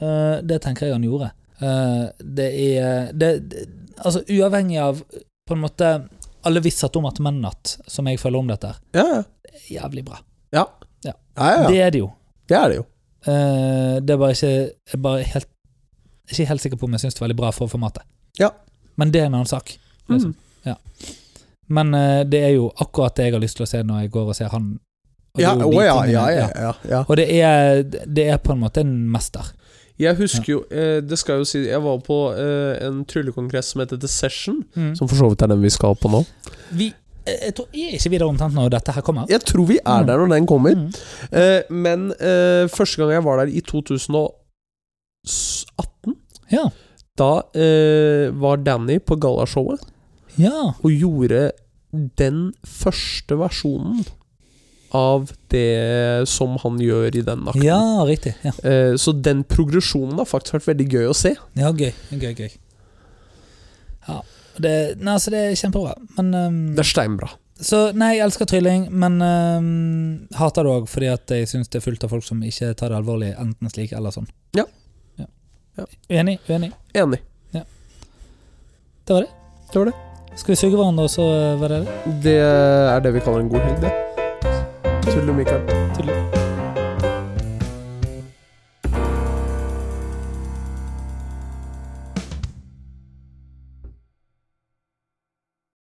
[SPEAKER 2] Eh, det tenker jeg han gjorde. Eh, det er det, det, Altså, uavhengig av på en måte alle visshet om at Mennatt, som jeg føler om dette, her,
[SPEAKER 1] Ja, ja.
[SPEAKER 2] er jævlig bra.
[SPEAKER 1] ja, ja, ja.
[SPEAKER 2] Det er det jo.
[SPEAKER 1] Det er det jo.
[SPEAKER 2] Eh, det er bare ikke Jeg er bare helt, ikke helt sikker på om jeg syns det er veldig bra for formatet.
[SPEAKER 1] Ja.
[SPEAKER 2] Men det er en annen sak. Liksom. Ja. Men eh, det er jo akkurat det jeg har lyst til å se når jeg går og ser han. Og det
[SPEAKER 1] Ja,
[SPEAKER 2] er jo
[SPEAKER 1] å
[SPEAKER 2] de
[SPEAKER 1] ja,
[SPEAKER 2] tingene-
[SPEAKER 1] ja, ja, ja, ja.
[SPEAKER 2] Og det er, det er på en måte en mester.
[SPEAKER 3] Jeg husker jo eh, Det skal jeg jo si Jeg var på eh, en tryllekongress som heter The Session.
[SPEAKER 2] Mm.
[SPEAKER 3] Som for så vidt er den vi skal på nå.
[SPEAKER 2] Vi, jeg jeg tror er ikke vi der omtrent når dette her kommer.
[SPEAKER 1] Jeg tror vi er der når den kommer.
[SPEAKER 2] Mm.
[SPEAKER 1] Eh, men eh, første gang jeg var der i 2018,
[SPEAKER 2] Ja.
[SPEAKER 1] da eh, var Danny på gallashowet
[SPEAKER 2] ja.
[SPEAKER 1] og gjorde den første versjonen av det som han gjør i den akten.
[SPEAKER 2] Ja, riktig. Ja,
[SPEAKER 1] Eh, så den progresjonen har faktisk vært veldig gøy å se.
[SPEAKER 2] ja gøy. Gøy, gøy. Ja. Det, nei, altså, det er kjempebra. Men ehm,
[SPEAKER 1] Det er steinbra.
[SPEAKER 2] Så nei, jeg elsker trylling, men ehm, hater det òg fordi at jeg syns det er fullt av folk som ikke tar det alvorlig, enten slik eller sånn.
[SPEAKER 1] Ja.
[SPEAKER 2] Ja.
[SPEAKER 1] Ja.
[SPEAKER 2] Uenig? Uenig.
[SPEAKER 1] Enig.
[SPEAKER 2] Det var det.
[SPEAKER 1] Det var det.
[SPEAKER 2] Skal vi suge hverandre, og så eh, var det det?
[SPEAKER 1] Det er det vi kaller en god helg, det. Tull og Mikael.
[SPEAKER 2] Tydelig.